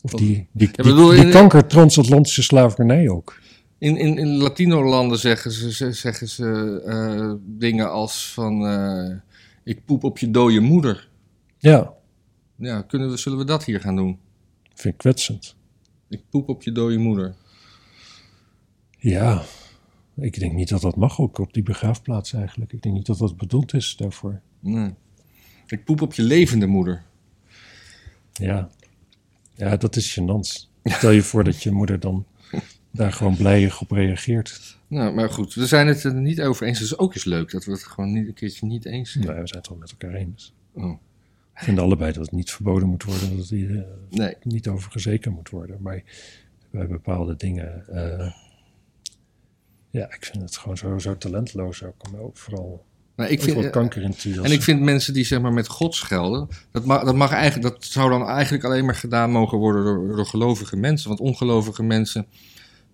Speaker 1: Of die, die, die,
Speaker 2: bedoel,
Speaker 1: die
Speaker 2: in-
Speaker 1: kanker transatlantische slavernij ook.
Speaker 2: In, in, in Latino-landen zeggen ze, ze- zeggen ze eh, dingen als van... eh, ik poep op je dode moeder.
Speaker 1: Ja,
Speaker 2: Ja, kunnen we, zullen we dat hier gaan doen?
Speaker 1: vind ik kwetsend.
Speaker 2: Ik poep op je dode moeder.
Speaker 1: Ja, ik denk niet dat dat mag ook op die begraafplaats eigenlijk. Ik denk niet dat dat bedoeld is daarvoor.
Speaker 2: Nee. Ik poep op je levende moeder.
Speaker 1: Ja, ja dat is gênant. Stel je voor dat je moeder dan daar gewoon blijig op reageert.
Speaker 2: Nou, maar goed, we zijn het er niet over eens. Dat is ook eens leuk, dat we het gewoon niet, een keertje niet eens zijn.
Speaker 1: Nee, Nou we zijn het wel met elkaar eens.
Speaker 2: Oh.
Speaker 1: We vinden allebei dat het niet verboden moet worden, dat het hier eh,
Speaker 2: Nee,
Speaker 1: niet over gezeken moet worden. Maar bij bepaalde dingen. eh, ja, ik vind het gewoon zo, zo talentloos ook. om Overal,
Speaker 2: maar ik vind... eh,
Speaker 1: overal kanker in te jassen.
Speaker 2: En ik vind mensen die zeg maar met God schelden, dat, ma dat, mag eigenlijk, dat zou dan eigenlijk alleen maar gedaan mogen worden door, door gelovige mensen. Want ongelovige mensen,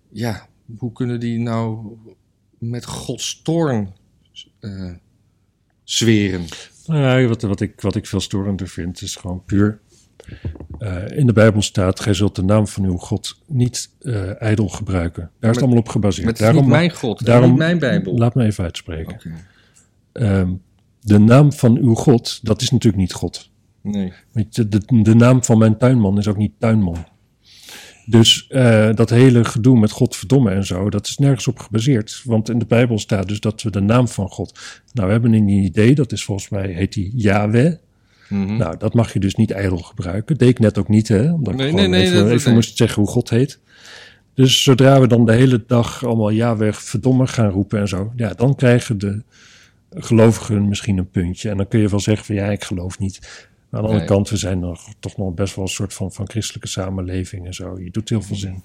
Speaker 2: ja, hoe kunnen die nou met Gods toorn eh, zweren?
Speaker 1: Nou, ja, wat, wat, ik, wat ik veel storender vind, is gewoon puur. eh, in de Bijbel staat: Gij zult de naam van uw God niet eh ijdel gebruiken. Daar is het
Speaker 2: Maar-
Speaker 1: allemaal op gebaseerd.
Speaker 2: Maar het is
Speaker 1: daarom,
Speaker 2: niet mijn God, daarom,
Speaker 1: daarom- Nou-
Speaker 2: niet mijn Bijbel. Oh.
Speaker 1: Laat me even uitspreken.
Speaker 2: Oké.
Speaker 1: Ehm, de naam van uw God, dat is natuurlijk niet God.
Speaker 2: Nee.
Speaker 1: Weet je, de, de naam van mijn tuinman is ook niet tuinman. Dus eh, dat hele gedoe met Godverdomme en zo, dat is nergens op gebaseerd. Want in de Bijbel staat dus dat we de naam van God. Nou, we hebben een idee, dat is volgens mij, heet die Yahweh.
Speaker 2: Mhm.
Speaker 1: Nou, dat mag je dus niet ijdel gebruiken. Deed ik net ook niet, hè? Omdat
Speaker 2: Nee,
Speaker 1: ik gewoon
Speaker 2: nee, nee,
Speaker 1: even,
Speaker 2: dat-
Speaker 1: even
Speaker 2: nee.
Speaker 1: moest zeggen hoe God heet. Dus zodra we dan de hele dag allemaal ja weg verdomme gaan roepen en zo, ja, dan krijgen de gelovigen misschien een puntje. En dan kun je wel zeggen van ja, ik geloof niet. Maar aan de andere
Speaker 2: Nee.
Speaker 1: kant, we zijn nog, toch nog best wel een soort van, van christelijke samenleving en zo. Je doet heel veel zin.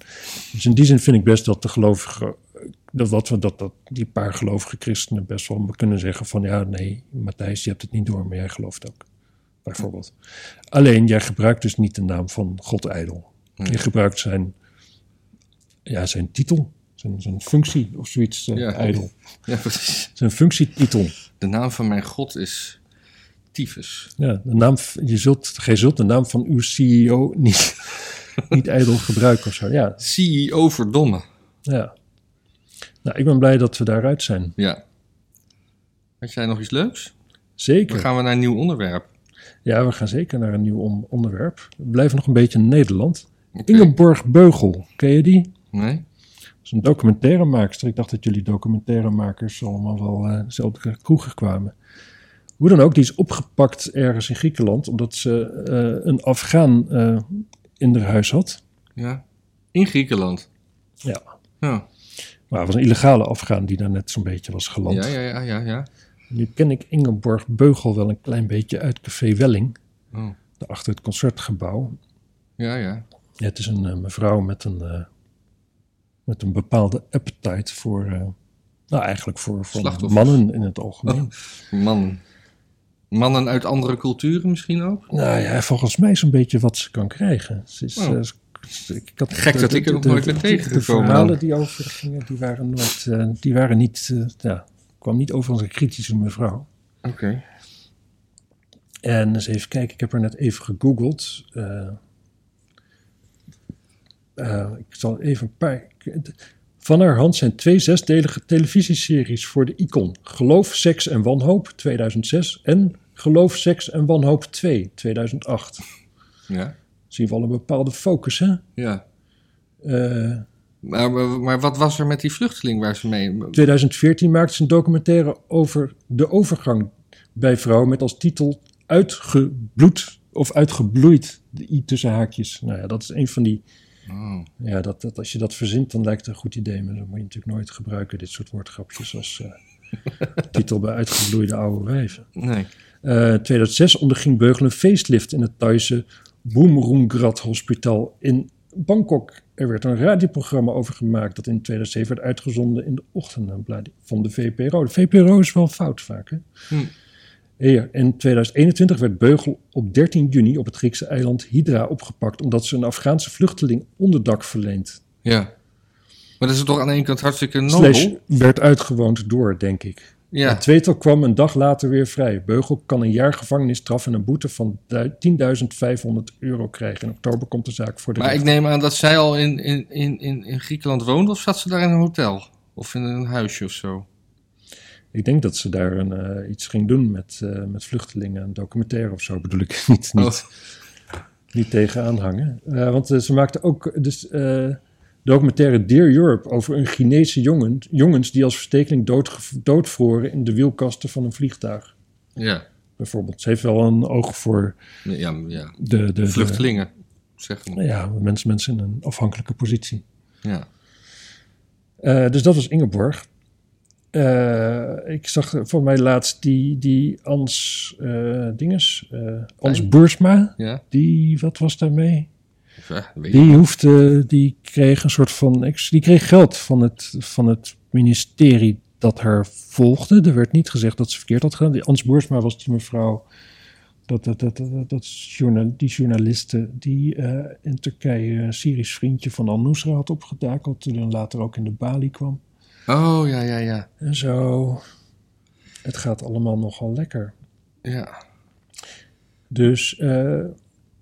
Speaker 1: Dus in die zin vind ik best dat de gelovigen, dat, wat we, dat, dat die paar gelovige christenen best wel kunnen zeggen van ja, nee, Matthijs, je hebt het niet door, maar jij gelooft ook. Bijvoorbeeld. Alleen, jij gebruikt dus niet de naam van God ijdel.
Speaker 2: Nee.
Speaker 1: Je gebruikt zijn, ja, zijn titel, zijn, zijn functie of zoiets, eh,
Speaker 2: Ja.
Speaker 1: ijdel.
Speaker 2: Ja, precies.
Speaker 1: Zijn functietitel.
Speaker 2: De naam van mijn God is tyfus.
Speaker 1: Ja, de naam, v- je zult, gij zult de naam van uw CEO niet, niet ijdel gebruiken of zo. Ja,
Speaker 2: CEO E verdomme.
Speaker 1: ja. Nou, ik ben blij dat we daaruit zijn.
Speaker 2: Ja. Had jij nog iets leuks? Dan
Speaker 1: Zeker.
Speaker 2: gaan we naar een nieuw onderwerp.
Speaker 1: Ja, we gaan zeker naar een nieuw on- onderwerp. We blijven nog een beetje in Nederland.
Speaker 2: Oké.
Speaker 1: Ingeborg Beugel, ken je die?
Speaker 2: Nee?
Speaker 1: Dat is een documentairemaakster. Ik dacht dat jullie documentairemakers allemaal wel eh, dezelfde kroegen kwamen. Hoe dan ook, die is opgepakt ergens in Griekenland... omdat ze eh, een Afghaan eh, in haar huis had.
Speaker 2: Ja? In Griekenland.
Speaker 1: Ja.
Speaker 2: Ja,
Speaker 1: Maar het was een illegale Afghaan die daar net zo'n beetje was geland.
Speaker 2: ja, ja, ja. ja, ja.
Speaker 1: Nu ken ik Ingeborg Beugel wel een klein beetje uit Café Welling,
Speaker 2: Oh.
Speaker 1: achter het concertgebouw.
Speaker 2: Ja, ja.
Speaker 1: Ja, het is een eh, mevrouw met een, eh, met een bepaalde appetite voor, eh, nou eigenlijk voor, voor
Speaker 2: Slachtoffers.
Speaker 1: mannen in het algemeen.
Speaker 2: Mannen. Mannen uit andere culturen misschien ook?
Speaker 1: Nou ja, volgens mij is een beetje wat ze kan krijgen. Ze is,
Speaker 2: Oh.
Speaker 1: eh, ze- ik had,
Speaker 2: Gek dat ik er nog nooit ben
Speaker 1: De
Speaker 2: tegengekomen
Speaker 1: verhalen
Speaker 2: dan.
Speaker 1: die over gingen, die waren, nooit, eh, die waren niet, eh, ja, kwam niet over als een kritische mevrouw.
Speaker 2: Oké.
Speaker 1: En eens even kijken, ik heb er net even gegoogeld. Eh, eh, ik zal even een paar. Van haar hand zijn twee zesdelige televisieseries voor de Icon: Geloof, Seks en Wanhoop 2006 en Geloof, Seks en Wanhoop 2 2008.
Speaker 2: Ja.
Speaker 1: Zien we al een bepaalde focus, hè?
Speaker 2: ja.
Speaker 1: Eh,
Speaker 2: Maar, maar, maar wat was er met die vluchteling waar ze mee...
Speaker 1: 2014 maakte ze een documentaire over de overgang bij vrouwen met als titel Uitgebloed of Uitgebloeid, de i tussen haakjes. Nou ja, dat is een van die.
Speaker 2: Oh.
Speaker 1: Ja, dat, dat, als je dat verzint, dan lijkt het een goed idee, maar dat moet je natuurlijk nooit gebruiken, dit soort woordgrapjes als eh, titel bij uitgebloeide oude wijven.
Speaker 2: Nee.
Speaker 1: Eh, 2006 onderging Beugel een facelift in het Thaise Boemroengrad Hospital in Bangkok. Er werd een radioprogramma over gemaakt dat in 2007 werd uitgezonden in de ochtenden van de VPRO. De VPRO is wel fout vaak, hè?
Speaker 2: Hm.
Speaker 1: Ja, in 2021 werd Beugel op 13 juni op het Griekse eiland Hydra opgepakt omdat ze een Afghaanse vluchteling onderdak verleent.
Speaker 2: Ja. Maar dat is toch aan de ene kant hartstikke nobel?
Speaker 1: Slash werd uitgewoond door, denk ik.
Speaker 2: Ja.
Speaker 1: Het tweetal kwam een dag later weer vrij. Beugel kan een jaar gevangenisstraf en een boete van du- 10.500 euro krijgen. In oktober komt de zaak voor de
Speaker 2: Maar ik
Speaker 1: rechter.
Speaker 2: neem aan dat zij al in, in, in, in, in Griekenland woonde of zat ze daar in een hotel? Of in een huisje of zo?
Speaker 1: Ik denk dat ze daar een, eh, iets ging doen met, eh, met vluchtelingen. Een documentaire of zo bedoel ik. niet, niet,
Speaker 2: Oh.
Speaker 1: niet tegenaan hangen. Eh, want eh, ze maakte ook dus, eh, documentaire Dear Europe over een Chinese jongen, jongens die als verstekeling doodgev- doodvroren in de wielkasten van een vliegtuig.
Speaker 2: Ja.
Speaker 1: Bijvoorbeeld. Ze heeft wel een oog voor
Speaker 2: Nee, Ja, ja.
Speaker 1: de, de, de-
Speaker 2: Vluchtelingen, zeg maar.
Speaker 1: Nou ja, mensen, mensen in een afhankelijke positie.
Speaker 2: Ja.
Speaker 1: Eh, dus dat was Ingeborg. Eh, ik zag eh, voor mij laatst die, die Ans eh Dinges, eh, Ans
Speaker 2: Fijn.
Speaker 1: Boersma.
Speaker 2: Ja.
Speaker 1: Die, wat was daarmee?
Speaker 2: ja weet je.
Speaker 1: Die hoefde, die kreeg een soort van, ex- die kreeg geld van het, van het ministerie dat haar volgde. Er werd niet gezegd dat ze verkeerd had gedaan. Die Ans Boersma was die mevrouw, dat, dat, dat, dat, dat, journa- die journaliste die eh, in Turkije een Syrisch vriendje van Al-Nusra had opgetakeld. Die dan later ook in de Bali kwam.
Speaker 2: Oh, ja, ja, ja.
Speaker 1: En zo, het gaat allemaal nogal lekker.
Speaker 2: Ja.
Speaker 1: Dus eh,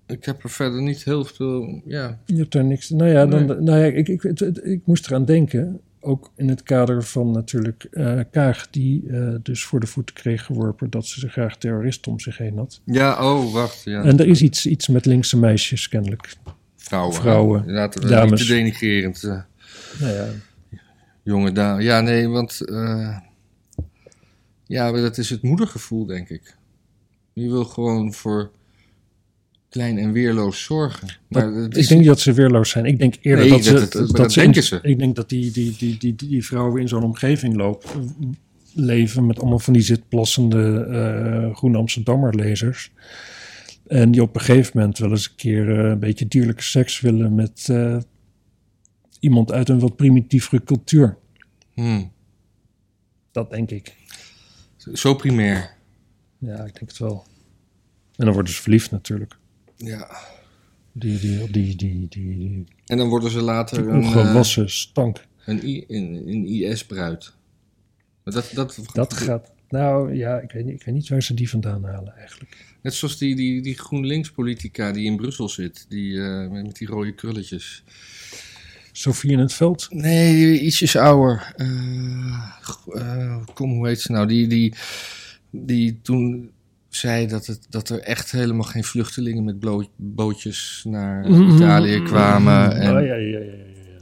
Speaker 2: Ik heb er verder niet heel veel. Ja,
Speaker 1: Je hebt daar niks. Nou ja, dan, nou ja ik, ik, het- het- ik moest eraan denken. Ook in het kader van natuurlijk eh, Kaag, die eh, dus voor de voet kreeg geworpen dat ze zo graag terroristen om zich heen had.
Speaker 2: ja oh, wacht. Ja.
Speaker 1: En er is iets, iets met linkse meisjes kennelijk.
Speaker 2: vrouwen.
Speaker 1: vrouwen,
Speaker 2: Laten we
Speaker 1: dames.
Speaker 2: niet te denigrerend. eh,
Speaker 1: Nou ja,
Speaker 2: jonge dames. Ja, nee, want. eh, ja, maar dat is het moedergevoel, denk ik. Je wil gewoon voor klein en weerloos zorgen. Maar
Speaker 1: dat-
Speaker 2: dat
Speaker 1: ik
Speaker 2: is,
Speaker 1: denk niet dat ze weerloos zijn. Ik denk eerder
Speaker 2: Nee,
Speaker 1: dat ze.
Speaker 2: dat- dat- maar dat
Speaker 1: ze
Speaker 2: denken
Speaker 1: in-
Speaker 2: ze.
Speaker 1: Ik denk dat die, die, die, die, die vrouwen in zo'n omgeving lopen, leven met allemaal van die zitplassende eh Groene Amsterdammer lezers. En die op een gegeven moment wel eens een keer eh, een beetje dierlijke seks willen met eh, iemand uit een wat primitievere cultuur.
Speaker 2: Hmm,
Speaker 1: Dat denk ik.
Speaker 2: zo primair.
Speaker 1: Ja, ik denk het wel. En dan worden ze verliefd natuurlijk.
Speaker 2: Ja.
Speaker 1: Die, die, die, die, die, die,
Speaker 2: En dan worden ze later.
Speaker 1: die
Speaker 2: een, eh,
Speaker 1: ongewassen stank.
Speaker 2: Een, I- een, een IS-bruid. Maar dat, dat,
Speaker 1: Dat gaat. Nou ja, ik weet, niet, ik weet niet waar ze die vandaan halen eigenlijk.
Speaker 2: Net zoals die, die, die GroenLinks-politica die in Brussel zit. Die, eh, met, met die rode krulletjes.
Speaker 1: Sofie in het veld.
Speaker 2: Nee, ietsjes ouder. Eh, g- eh, kom, hoe heet ze nou? Die, die, die toen zei dat, het, dat er echt helemaal geen vluchtelingen met blo- bootjes naar eh, Italië kwamen.
Speaker 1: Oh,
Speaker 2: En,
Speaker 1: ja, ja, ja, ja, ja.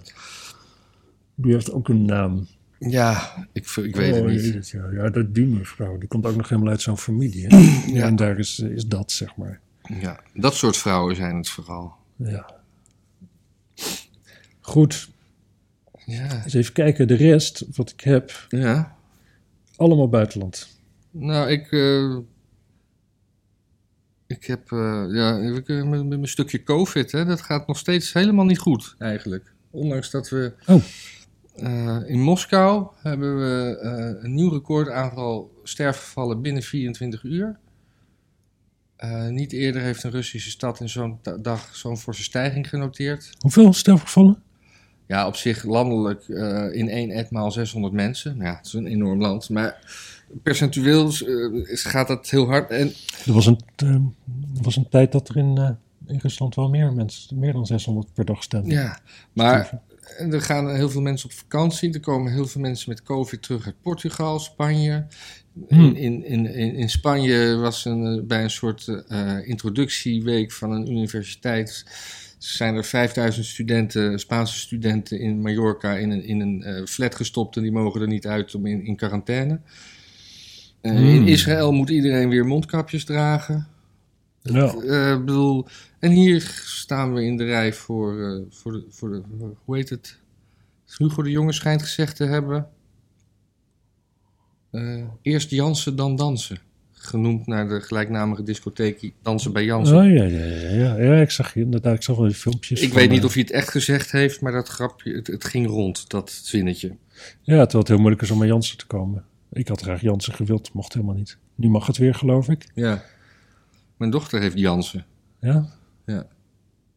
Speaker 1: Die heeft ook een naam.
Speaker 2: ja, ik, v- ik weet het
Speaker 1: Oh,
Speaker 2: niet.
Speaker 1: jezus, ja. ja, dat die mevrouw. Die komt ook nog helemaal uit zo'n familie. Hè?
Speaker 2: Ja.
Speaker 1: En daar is, eh, is dat, zeg maar.
Speaker 2: Ja, dat soort vrouwen zijn het vooral.
Speaker 1: Ja. Goed,
Speaker 2: Ja.
Speaker 1: eens even kijken. De rest, wat ik heb,
Speaker 2: ja.
Speaker 1: allemaal buitenland.
Speaker 2: Nou, ik. eh, ik heb. eh, ja, we kunnen met, met mijn stukje COVID, hè, dat gaat nog steeds helemaal niet goed, eigenlijk. Ondanks dat we.
Speaker 1: Oh.
Speaker 2: eh, in Moskou hebben we eh, een nieuw record aantal sterfgevallen binnen 24 uur. Eh, niet eerder heeft een Russische stad in zo'n ta- dag zo'n forse stijging genoteerd.
Speaker 1: Hoeveel sterfgevallen?
Speaker 2: Ja, op zich landelijk eh, in één etmaal 600 mensen. Nou Ja, het is een enorm land. Maar percentueel eh, is- gaat dat heel hard. En
Speaker 1: Er was een, eh, er was een tijd dat er in, eh, in Rusland wel meer mensen, meer dan 600 per dag stemden.
Speaker 2: ja, maar er gaan heel veel mensen op vakantie. Er komen heel veel mensen met COVID terug uit Portugal, Spanje.
Speaker 1: Hmm.
Speaker 2: In, in, in, in, in Spanje was een, eh, bij een soort eh, introductieweek van een universiteit. Zijn er 5000 studenten, Spaanse studenten in Mallorca in een, in een eh, flat gestopt en die mogen er niet uit om in, in quarantaine. Eh, In
Speaker 1: Hmm.
Speaker 2: Israël moet iedereen weer mondkapjes dragen.
Speaker 1: Ja.
Speaker 2: Eh, ik bedoel, en hier staan we in de rij voor, eh, voor, de, voor de, hoe heet het? Hugo de Jonge schijnt gezegd te hebben. eh, eerst Jansen, dan dansen. Genoemd naar de gelijknamige discotheek Dansen bij Jansen.
Speaker 1: Oh, ja, ja, ja, ja. ja, ik zag inderdaad, ik zag wel die filmpjes.
Speaker 2: Ik
Speaker 1: van,
Speaker 2: weet niet
Speaker 1: eh,
Speaker 2: of hij het echt gezegd heeft, maar dat grapje, het, het ging rond, dat zinnetje.
Speaker 1: Ja, terwijl het heel moeilijk is om bij Jansen te komen. Ik had graag Jansen gewild, mocht helemaal niet. Nu mag het weer, geloof ik.
Speaker 2: Ja. Mijn dochter heeft Jansen.
Speaker 1: Ja?
Speaker 2: Ja.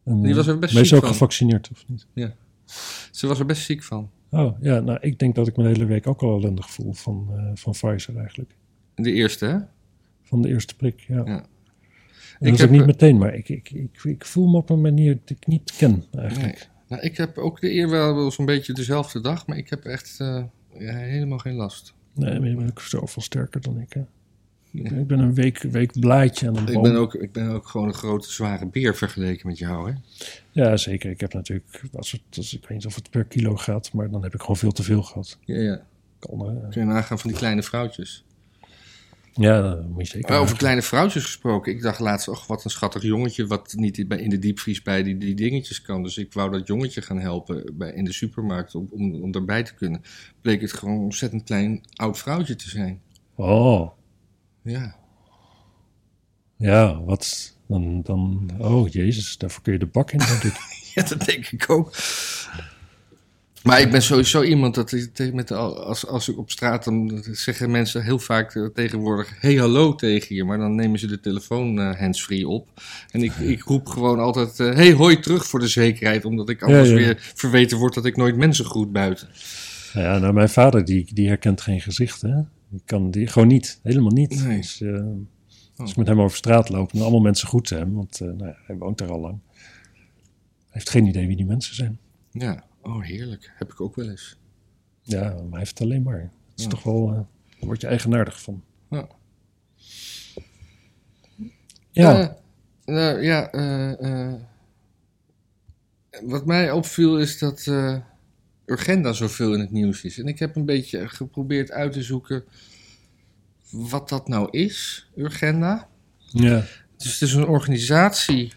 Speaker 1: En,
Speaker 2: Die was
Speaker 1: eh,
Speaker 2: er best
Speaker 1: maar is
Speaker 2: ziek
Speaker 1: ook
Speaker 2: van.
Speaker 1: gevaccineerd, of niet?
Speaker 2: Ze was er best ziek van.
Speaker 1: Oh, ja, nou, ik denk dat ik mijn hele week ook al ellendig voel van, eh, van Pfizer eigenlijk.
Speaker 2: De eerste, hè?
Speaker 1: Van de eerste prik, ja.
Speaker 2: Ja.
Speaker 1: Dat is
Speaker 2: heb,
Speaker 1: ook niet
Speaker 2: eh,
Speaker 1: meteen, maar ik, ik, ik, ik voel me op een manier die ik niet ken eigenlijk.
Speaker 2: Nee. Nou, ik heb ook de eer wel wel zo'n beetje dezelfde dag, maar ik heb echt eh, ja, helemaal geen last.
Speaker 1: Nee, maar je bent ook zoveel sterker dan ik, hè.
Speaker 2: Ja.
Speaker 1: Ik ben een week, week blaadje aan een boom.
Speaker 2: Ik ben, ook, ik ben ook gewoon een grote, zware beer vergeleken met jou, hè?
Speaker 1: Ja, zeker. Ik heb natuurlijk, als het, als, ik weet niet of het per kilo gaat, maar dan heb ik gewoon veel te veel gehad.
Speaker 2: Ja, ja.
Speaker 1: Kan, eh,
Speaker 2: Kun je nagaan van die kleine vrouwtjes.
Speaker 1: ja, dat moet je zeker.
Speaker 2: Maar over kleine vrouwtjes gesproken, ik dacht laatst, och, wat een schattig jongetje wat niet bij- in de diepvries bij die, die dingetjes kan. Dus ik wou dat jongetje gaan helpen bij, in de supermarkt om, om, om daarbij te kunnen. Bleek het gewoon een ontzettend klein oud vrouwtje te zijn.
Speaker 1: Oh,
Speaker 2: Ja.
Speaker 1: ja, wat? Dan, dan, oh jezus, daarvoor kun je de bak in, denk ik.
Speaker 2: Ja, dat denk ik ook. Maar ik ben sowieso iemand dat ik tegen- met de- als, als ik op straat dan zeggen mensen heel vaak eh, tegenwoordig hey hallo tegen je, maar dan nemen ze de telefoon eh, handsfree op en ik, ik roep gewoon altijd eh, hey hoi terug voor de zekerheid, omdat ik anders
Speaker 1: ja.
Speaker 2: weer verweten word dat ik nooit mensen groet buiten.
Speaker 1: Nou ja, nou, mijn vader, die, die herkent geen gezicht, hè. Die kan die gewoon niet, helemaal niet.
Speaker 2: Nee. Oh.
Speaker 1: Dus, eh, als ik met hem over straat loop, dan allemaal mensen groeten hem, want eh, nou ja, hij woont daar al lang. Hij heeft geen idee wie die mensen zijn.
Speaker 2: Ja, oh heerlijk, heb ik ook wel eens.
Speaker 1: Ja, maar hij heeft het alleen maar. Het is
Speaker 2: Ja.
Speaker 1: toch wel, eh, daar word je eigenaardig van.
Speaker 2: Ja.
Speaker 1: Ja,
Speaker 2: Eh, nou ja, eh, eh, wat mij opviel is dat eh, Urgenda zoveel in het nieuws is. En ik heb een beetje geprobeerd uit te zoeken wat dat nou is, Urgenda.
Speaker 1: ja.
Speaker 2: Dus het is een organisatie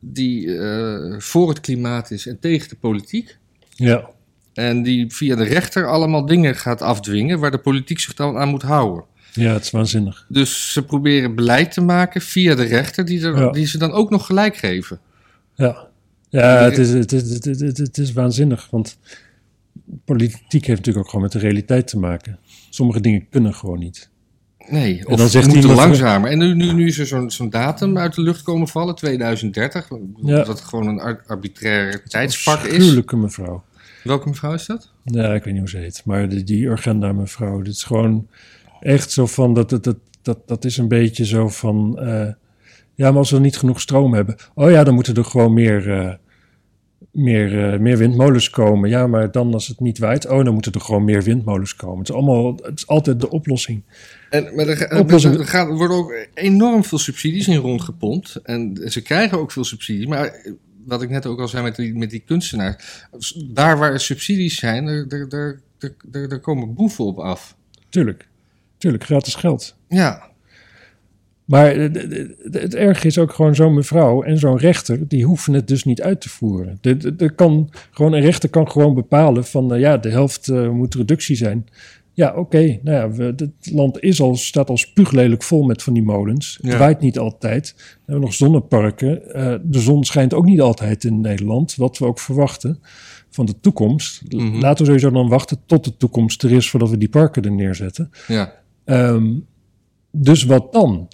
Speaker 2: die eh, voor het klimaat is en tegen de politiek.
Speaker 1: ja.
Speaker 2: En die via de rechter allemaal dingen gaat afdwingen waar de politiek zich dan aan moet houden.
Speaker 1: Ja, het is waanzinnig.
Speaker 2: Dus ze proberen beleid te maken via de rechter die, er,
Speaker 1: Ja.
Speaker 2: die ze dan ook nog gelijk geven.
Speaker 1: Ja, ja het, is, het, is, het, is- het is- het is waanzinnig. Want politiek heeft natuurlijk ook gewoon met de realiteit te maken. Sommige dingen kunnen gewoon niet.
Speaker 2: Nee,
Speaker 1: En
Speaker 2: of
Speaker 1: dan
Speaker 2: dan
Speaker 1: zegt
Speaker 2: moet
Speaker 1: iemand-
Speaker 2: langzamer. En nu, nu, nu is er zo'n zo'n datum uit de lucht komen vallen, 2030.
Speaker 1: Ja.
Speaker 2: Dat het gewoon een ar- arbitrair tijdspak is.
Speaker 1: Afschuwelijke mevrouw.
Speaker 2: Welke mevrouw is dat?
Speaker 1: Ja, ik weet niet hoe ze heet. Maar die, die agenda mevrouw, dit is gewoon echt zo van... Dat, dat, dat, dat, dat is een beetje zo van... eh, ja, maar als we niet genoeg stroom hebben... Oh ja, dan moeten er gewoon meer... eh, meer, eh, meer windmolens komen. Ja, maar dan als het niet waait... Oh, dan moeten er gewoon meer windmolens komen. Het is, allemaal, het is altijd de oplossing.
Speaker 2: En, maar er, ga-
Speaker 1: Oplossing.
Speaker 2: er gaan- er worden ook enorm veel subsidies in rondgepompt. En ze krijgen ook veel subsidies. Maar eh, wat ik net ook al zei met die, met die kunstenaar. Daar waar er subsidies zijn, daar, daar, daar, daar, daar komen boeven op af.
Speaker 1: Tuurlijk. Tuurlijk, gratis geld.
Speaker 2: Ja,
Speaker 1: Maar eh, d- d- d- het erg is ook gewoon zo'n mevrouw en zo'n rechter, die hoeven het dus niet uit te voeren. De, de, de kan, gewoon, een rechter kan gewoon bepalen van, nou ja, de helft eh, moet reductie zijn. Ja, oké, nou ja, we, het land is al, staat al spuuglelijk vol met van die molens. Het
Speaker 2: Ja.
Speaker 1: waait niet altijd. We hebben nog zonneparken. Eh, de zon schijnt ook niet altijd in Nederland, wat we ook verwachten van de toekomst. L-
Speaker 2: Mhm.
Speaker 1: Laten we sowieso dan wachten tot de toekomst er is voordat we die parken er neerzetten.
Speaker 2: Ja,
Speaker 1: Ehm, dus wat dan?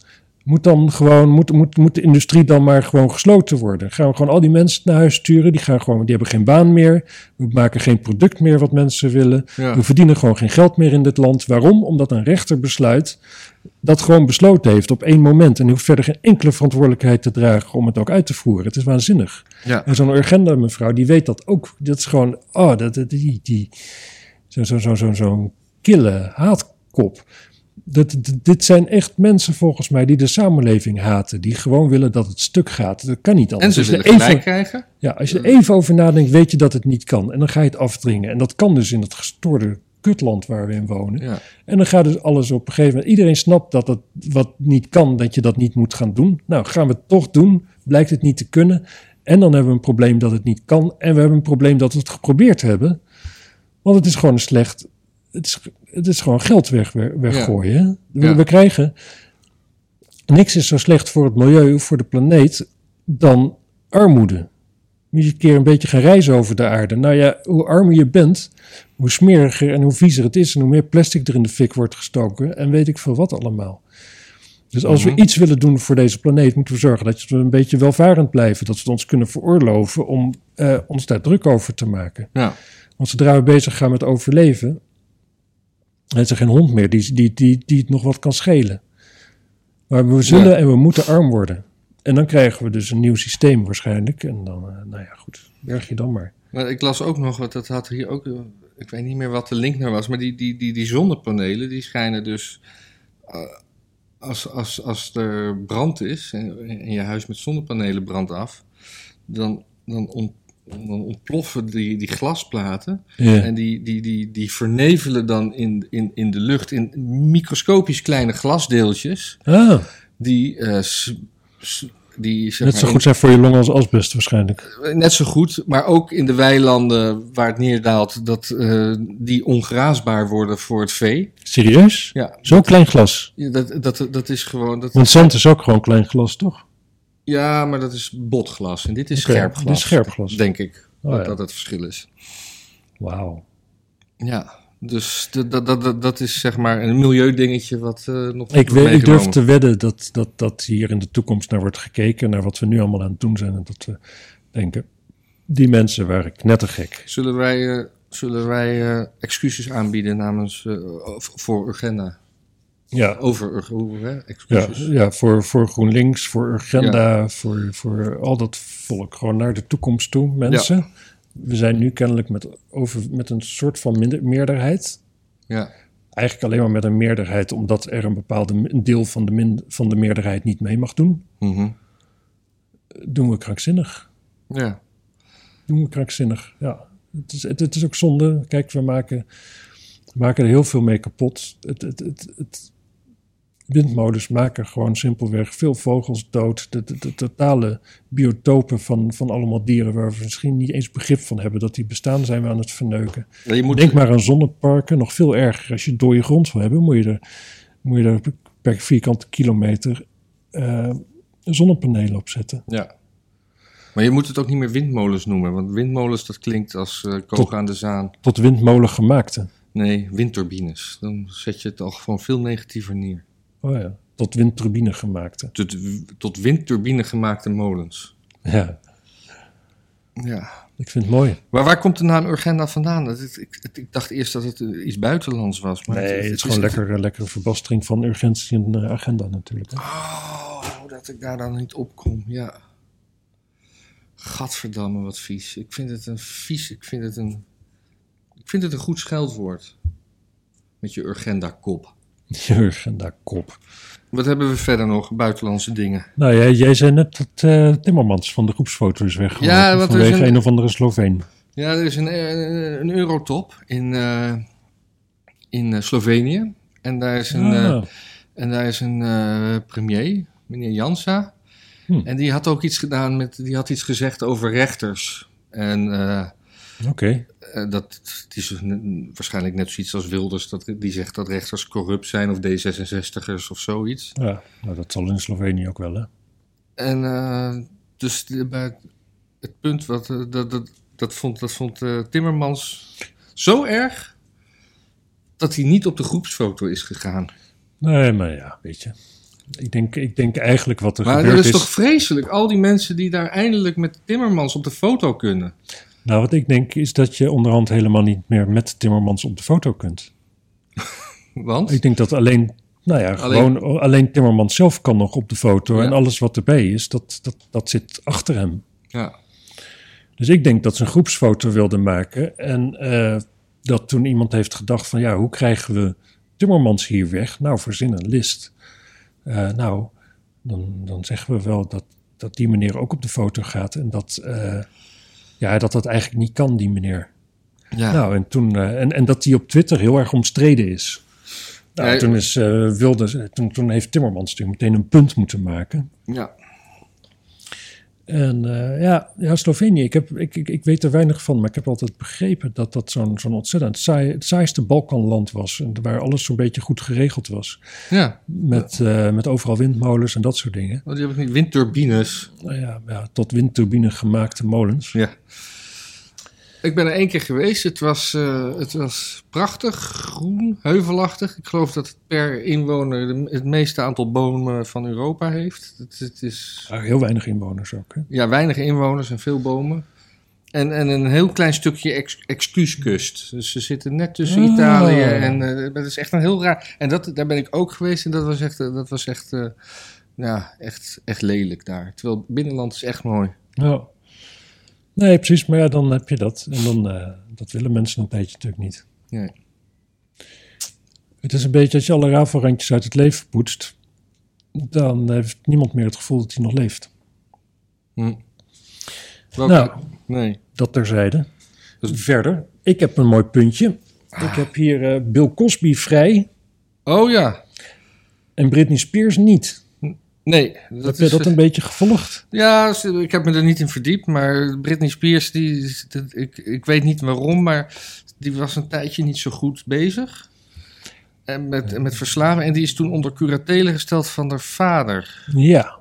Speaker 1: Moet, dan gewoon, moet, moet, moet de industrie dan maar gewoon gesloten worden? Gaan we gewoon al die mensen naar huis sturen? Die, gaan gewoon, die hebben geen baan meer. We maken geen product meer wat mensen willen.
Speaker 2: ja.
Speaker 1: We verdienen gewoon geen geld meer in dit land. Waarom? Omdat een rechter besluit dat gewoon besloten heeft op één moment. En die hoeft verder geen enkele verantwoordelijkheid te dragen om het ook uit te voeren. Het is waanzinnig.
Speaker 2: ja.
Speaker 1: En zo'n Urgenda mevrouw, die weet dat ook. Dat is gewoon, oh, dat, dat- die, die, zo'n zo, zo, zo, zo'n kille haatkop. Dat, d- dit zijn echt mensen volgens mij die de samenleving haten. Die gewoon willen dat het stuk gaat. Dat kan niet
Speaker 2: En
Speaker 1: anders.
Speaker 2: ze
Speaker 1: Als je
Speaker 2: willen
Speaker 1: er even-
Speaker 2: gelijk krijgen.
Speaker 1: ja, als je er even over nadenkt, weet je dat het niet kan. En dan ga je het afdringen. En dat kan dus in het gestoorde kutland waar we in wonen.
Speaker 2: Ja.
Speaker 1: En dan gaat dus alles op een gegeven moment. Iedereen snapt dat dat wat niet kan, dat je dat niet moet gaan doen. Nou, gaan we het toch doen? Blijkt het niet te kunnen? En dan hebben we een probleem dat het niet kan. En we hebben een probleem dat we het geprobeerd hebben. Want het is gewoon een slecht. Het is, het is gewoon geld weg, weggooien. hè? We,
Speaker 2: Ja.
Speaker 1: we krijgen. Niks is zo slecht voor het milieu, voor de planeet, dan armoede. Moet je een keer een beetje gaan reizen over de aarde. Nou ja, hoe armer je bent, hoe smeriger en hoe viezer het is en hoe meer plastic er in de fik wordt gestoken en weet ik veel wat allemaal. Dus als
Speaker 2: Mhm.
Speaker 1: we iets willen doen voor deze planeet, moeten we zorgen dat we een beetje welvarend blijven. Dat we het ons kunnen veroorloven om eh, ons daar druk over te maken.
Speaker 2: Ja.
Speaker 1: Want zodra we bezig gaan met overleven, dan is er geen hond meer die, die, die, die het nog wat kan schelen. Maar we zullen
Speaker 2: Ja.
Speaker 1: en we moeten arm worden. En dan krijgen we dus een nieuw systeem waarschijnlijk. En dan, eh, nou ja, goed, berg je dan maar.
Speaker 2: Maar ik las ook nog, want dat had hier ook, eh, ik weet niet meer wat de link naar was, maar die, die, die, die zonnepanelen die schijnen dus eh, als, als, als er brand is en, en je huis met zonnepanelen brandt af, dan, dan, ont- dan ontploffen die, die glasplaten
Speaker 1: Ja.
Speaker 2: en die, die, die, die vernevelen dan in, in, in de lucht in microscopisch kleine glasdeeltjes
Speaker 1: Ah,
Speaker 2: die... eh, s- s- die, zeg
Speaker 1: net
Speaker 2: maar,
Speaker 1: zo goed zijn voor je longen als asbest waarschijnlijk.
Speaker 2: Net zo goed, maar ook in de weilanden waar het neerdaalt, dat eh, die ongraasbaar worden voor het vee.
Speaker 1: Serieus?
Speaker 2: Ja,
Speaker 1: Zo'n klein glas.
Speaker 2: dat, dat, dat is gewoon. Dat,
Speaker 1: Want zand is ook gewoon klein glas, toch?
Speaker 2: ja, maar dat is botglas en dit is
Speaker 1: Oké,
Speaker 2: scherp glas.
Speaker 1: dit is scherp glas.
Speaker 2: Denk ik
Speaker 1: Oh,
Speaker 2: dat,
Speaker 1: ja.
Speaker 2: dat het verschil is.
Speaker 1: Wauw.
Speaker 2: Ja, dus dat, dat, dat- dat, dat is zeg maar een milieudingetje wat eh, nog.
Speaker 1: Ik,
Speaker 2: wordt
Speaker 1: weet, ik durf
Speaker 2: meegenomen.
Speaker 1: te wedden dat, dat, dat hier in de toekomst naar wordt gekeken, naar wat we nu allemaal aan het doen zijn. En dat we denken, die mensen waren knettergek.
Speaker 2: Zullen wij, eh, zullen wij eh, excuses aanbieden namens. eh, voor Urgenda?
Speaker 1: Ja,
Speaker 2: Over Urgenda, hè?
Speaker 1: ja,
Speaker 2: Excuses.
Speaker 1: ja voor, voor GroenLinks, voor Urgenda, voor, voor al dat volk. Gewoon naar de toekomst toe, mensen. We zijn nu kennelijk met, over, met een soort van minder, meerderheid.
Speaker 2: ja.
Speaker 1: Eigenlijk alleen maar met een meerderheid, omdat er een bepaald deel van de, min, van de meerderheid niet mee mag doen.
Speaker 2: Mhm.
Speaker 1: Doen we krankzinnig.
Speaker 2: ja.
Speaker 1: doen we krankzinnig. Ja, het is, het, het is ook zonde. Kijk, we maken, we maken er heel veel mee kapot. Het, het, het, het, windmolens maken gewoon simpelweg veel vogels dood. De, de, de totale biotopen van, van allemaal dieren waar we misschien niet eens begrip van hebben dat die bestaan, zijn we aan het verneuken.
Speaker 2: Ja, Je moet,
Speaker 1: Denk maar aan zonneparken, nog veel erger. Als je dode grond wil hebben, moet je er, moet je er per vierkante kilometer eh, zonnepanelen op zetten.
Speaker 2: Ja. Maar je moet het ook niet meer windmolens noemen, want windmolens dat klinkt als eh koken aan de zaan.
Speaker 1: Tot windmolen gemaakt. hè.
Speaker 2: Nee, windturbines. Dan zet je het al gewoon veel negatiever neer.
Speaker 1: Oh ja, tot windturbine gemaakt. hè.
Speaker 2: Tot, tot windturbine gemaakte molens.
Speaker 1: Ja,
Speaker 2: Ja.
Speaker 1: ik vind het mooi.
Speaker 2: Maar waar komt de naam Urgenda vandaan? Dat het- ik, het- ik dacht eerst dat het eh, iets buitenlands was. Maar
Speaker 1: Nee, het is gewoon lekker, eh, lekkere verbastering van urgentie en eh, agenda natuurlijk. hè.
Speaker 2: Oh, dat ik daar dan niet op kom, ja. Gadverdamme, wat vies. Ik vind het een vies, ik vind het een... Ik vind het een goed scheldwoord. Met je Urgenda-kop.
Speaker 1: Je agenda kop.
Speaker 2: Wat hebben we verder nog? Buitenlandse dingen.
Speaker 1: Nou jij, jij zei net dat eh, Timmermans van de groepsfoto is weggeworpen
Speaker 2: Ja, want er is
Speaker 1: vanwege een...
Speaker 2: een-
Speaker 1: of andere Sloveen.
Speaker 2: Ja, er is een, eh, een eurotop in, eh, in eh, Slovenië. En daar is een,
Speaker 1: Ah,
Speaker 2: eh, En daar is een eh, premier, meneer Jansa.
Speaker 1: Hm.
Speaker 2: En die had ook iets gedaan met, die had iets gezegd over rechters. En eh,
Speaker 1: Oké.
Speaker 2: eh, dat het is een- waarschijnlijk net zoiets als Wilders, dat, die zegt dat rechters corrupt zijn of D66'ers of zoiets.
Speaker 1: Ja, nou, dat zal in Slovenië ook wel, hè?
Speaker 2: En eh, dus de- bij het punt wat eh, dat, dat, dat vond, dat vond eh, Timmermans zo erg dat hij niet op de groepsfoto is gegaan.
Speaker 1: Nee, maar ja, weet je. Ik denk, ik denk eigenlijk wat er
Speaker 2: Maar dat
Speaker 1: gebeurd
Speaker 2: is toch vreselijk? Al die mensen die daar eindelijk met Timmermans op de foto kunnen.
Speaker 1: Nou, wat ik denk is dat je onderhand helemaal niet meer met Timmermans op de foto kunt.
Speaker 2: Want
Speaker 1: Ik denk dat alleen, nou ja,
Speaker 2: Alleen-
Speaker 1: gewoon alleen Timmermans zelf kan nog op de foto.
Speaker 2: Ja.
Speaker 1: En alles wat erbij is, dat, dat, dat zit achter hem.
Speaker 2: ja,
Speaker 1: Dus ik denk dat ze een groepsfoto wilden maken. En eh, dat toen iemand heeft gedacht van ja, hoe krijgen we Timmermans hier weg? Nou, verzin een list. Eh, nou, dan, dan zeggen we wel dat, dat die meneer ook op de foto gaat. En dat, eh, ja, dat dat eigenlijk niet kan, die meneer.
Speaker 2: ja.
Speaker 1: Nou, en, toen, eh, en, en dat die op Twitter heel erg omstreden is. Nou,
Speaker 2: Ja,
Speaker 1: toen, is, eh, Wilders, eh, toen, toen heeft Timmermans natuurlijk meteen een punt moeten maken.
Speaker 2: ja.
Speaker 1: En eh, ja, ja, Slovenië, ik, heb, ik, ik, ik weet er weinig van, maar ik heb altijd begrepen dat dat zo'n zo'n ontzettend saai, het saaiste Balkanland was. En waar alles zo'n beetje goed geregeld was.
Speaker 2: ja.
Speaker 1: Met, eh, met overal windmolens en dat soort dingen.
Speaker 2: Want die heb ik niet. Windturbines.
Speaker 1: Nou ja, ja, tot windturbine gemaakte molens.
Speaker 2: Ja. Ik ben er één keer geweest. Het was, eh, het was prachtig, groen, heuvelachtig. Ik geloof dat het per inwoner de- het meeste aantal bomen van Europa heeft. Het, het is
Speaker 1: Ja, heel weinig inwoners ook. Hè?
Speaker 2: ja, weinig inwoners en veel bomen. En, en een heel klein stukje ex- excuuskust. Dus ze zitten net tussen
Speaker 1: Ah.
Speaker 2: Italië en eh, dat is echt een heel raar. En dat, daar ben ik ook geweest en dat was echt, eh, dat was echt, eh, ja, echt, echt lelijk daar. Terwijl het binnenland is echt mooi.
Speaker 1: Ja. Nee, precies, maar ja, dan heb je dat. En dan, eh, dat willen mensen een tijdje natuurlijk niet.
Speaker 2: Nee.
Speaker 1: Het is een beetje als je alle rafelrandjes uit het leven poetst, dan heeft niemand meer het gevoel dat hij nog leeft.
Speaker 2: Hm. Welke-
Speaker 1: Nou.
Speaker 2: Nee.
Speaker 1: Dat terzijde.
Speaker 2: Dus-
Speaker 1: Verder, ik heb een mooi puntje.
Speaker 2: Ah.
Speaker 1: Ik heb hier eh, Bill Cosby vrij
Speaker 2: Oh ja.
Speaker 1: en Britney Spears niet.
Speaker 2: Nee. Dat eh,
Speaker 1: heb je dat een beetje gevolgd?
Speaker 2: Ja, s- ik heb me er niet in verdiept, maar Britney Spears, die, is- dat- ik, ik weet niet waarom, maar die was een tijdje niet zo goed bezig. En met, en met verslaven. En die is toen onder curatele gesteld van haar vader.
Speaker 1: Ja,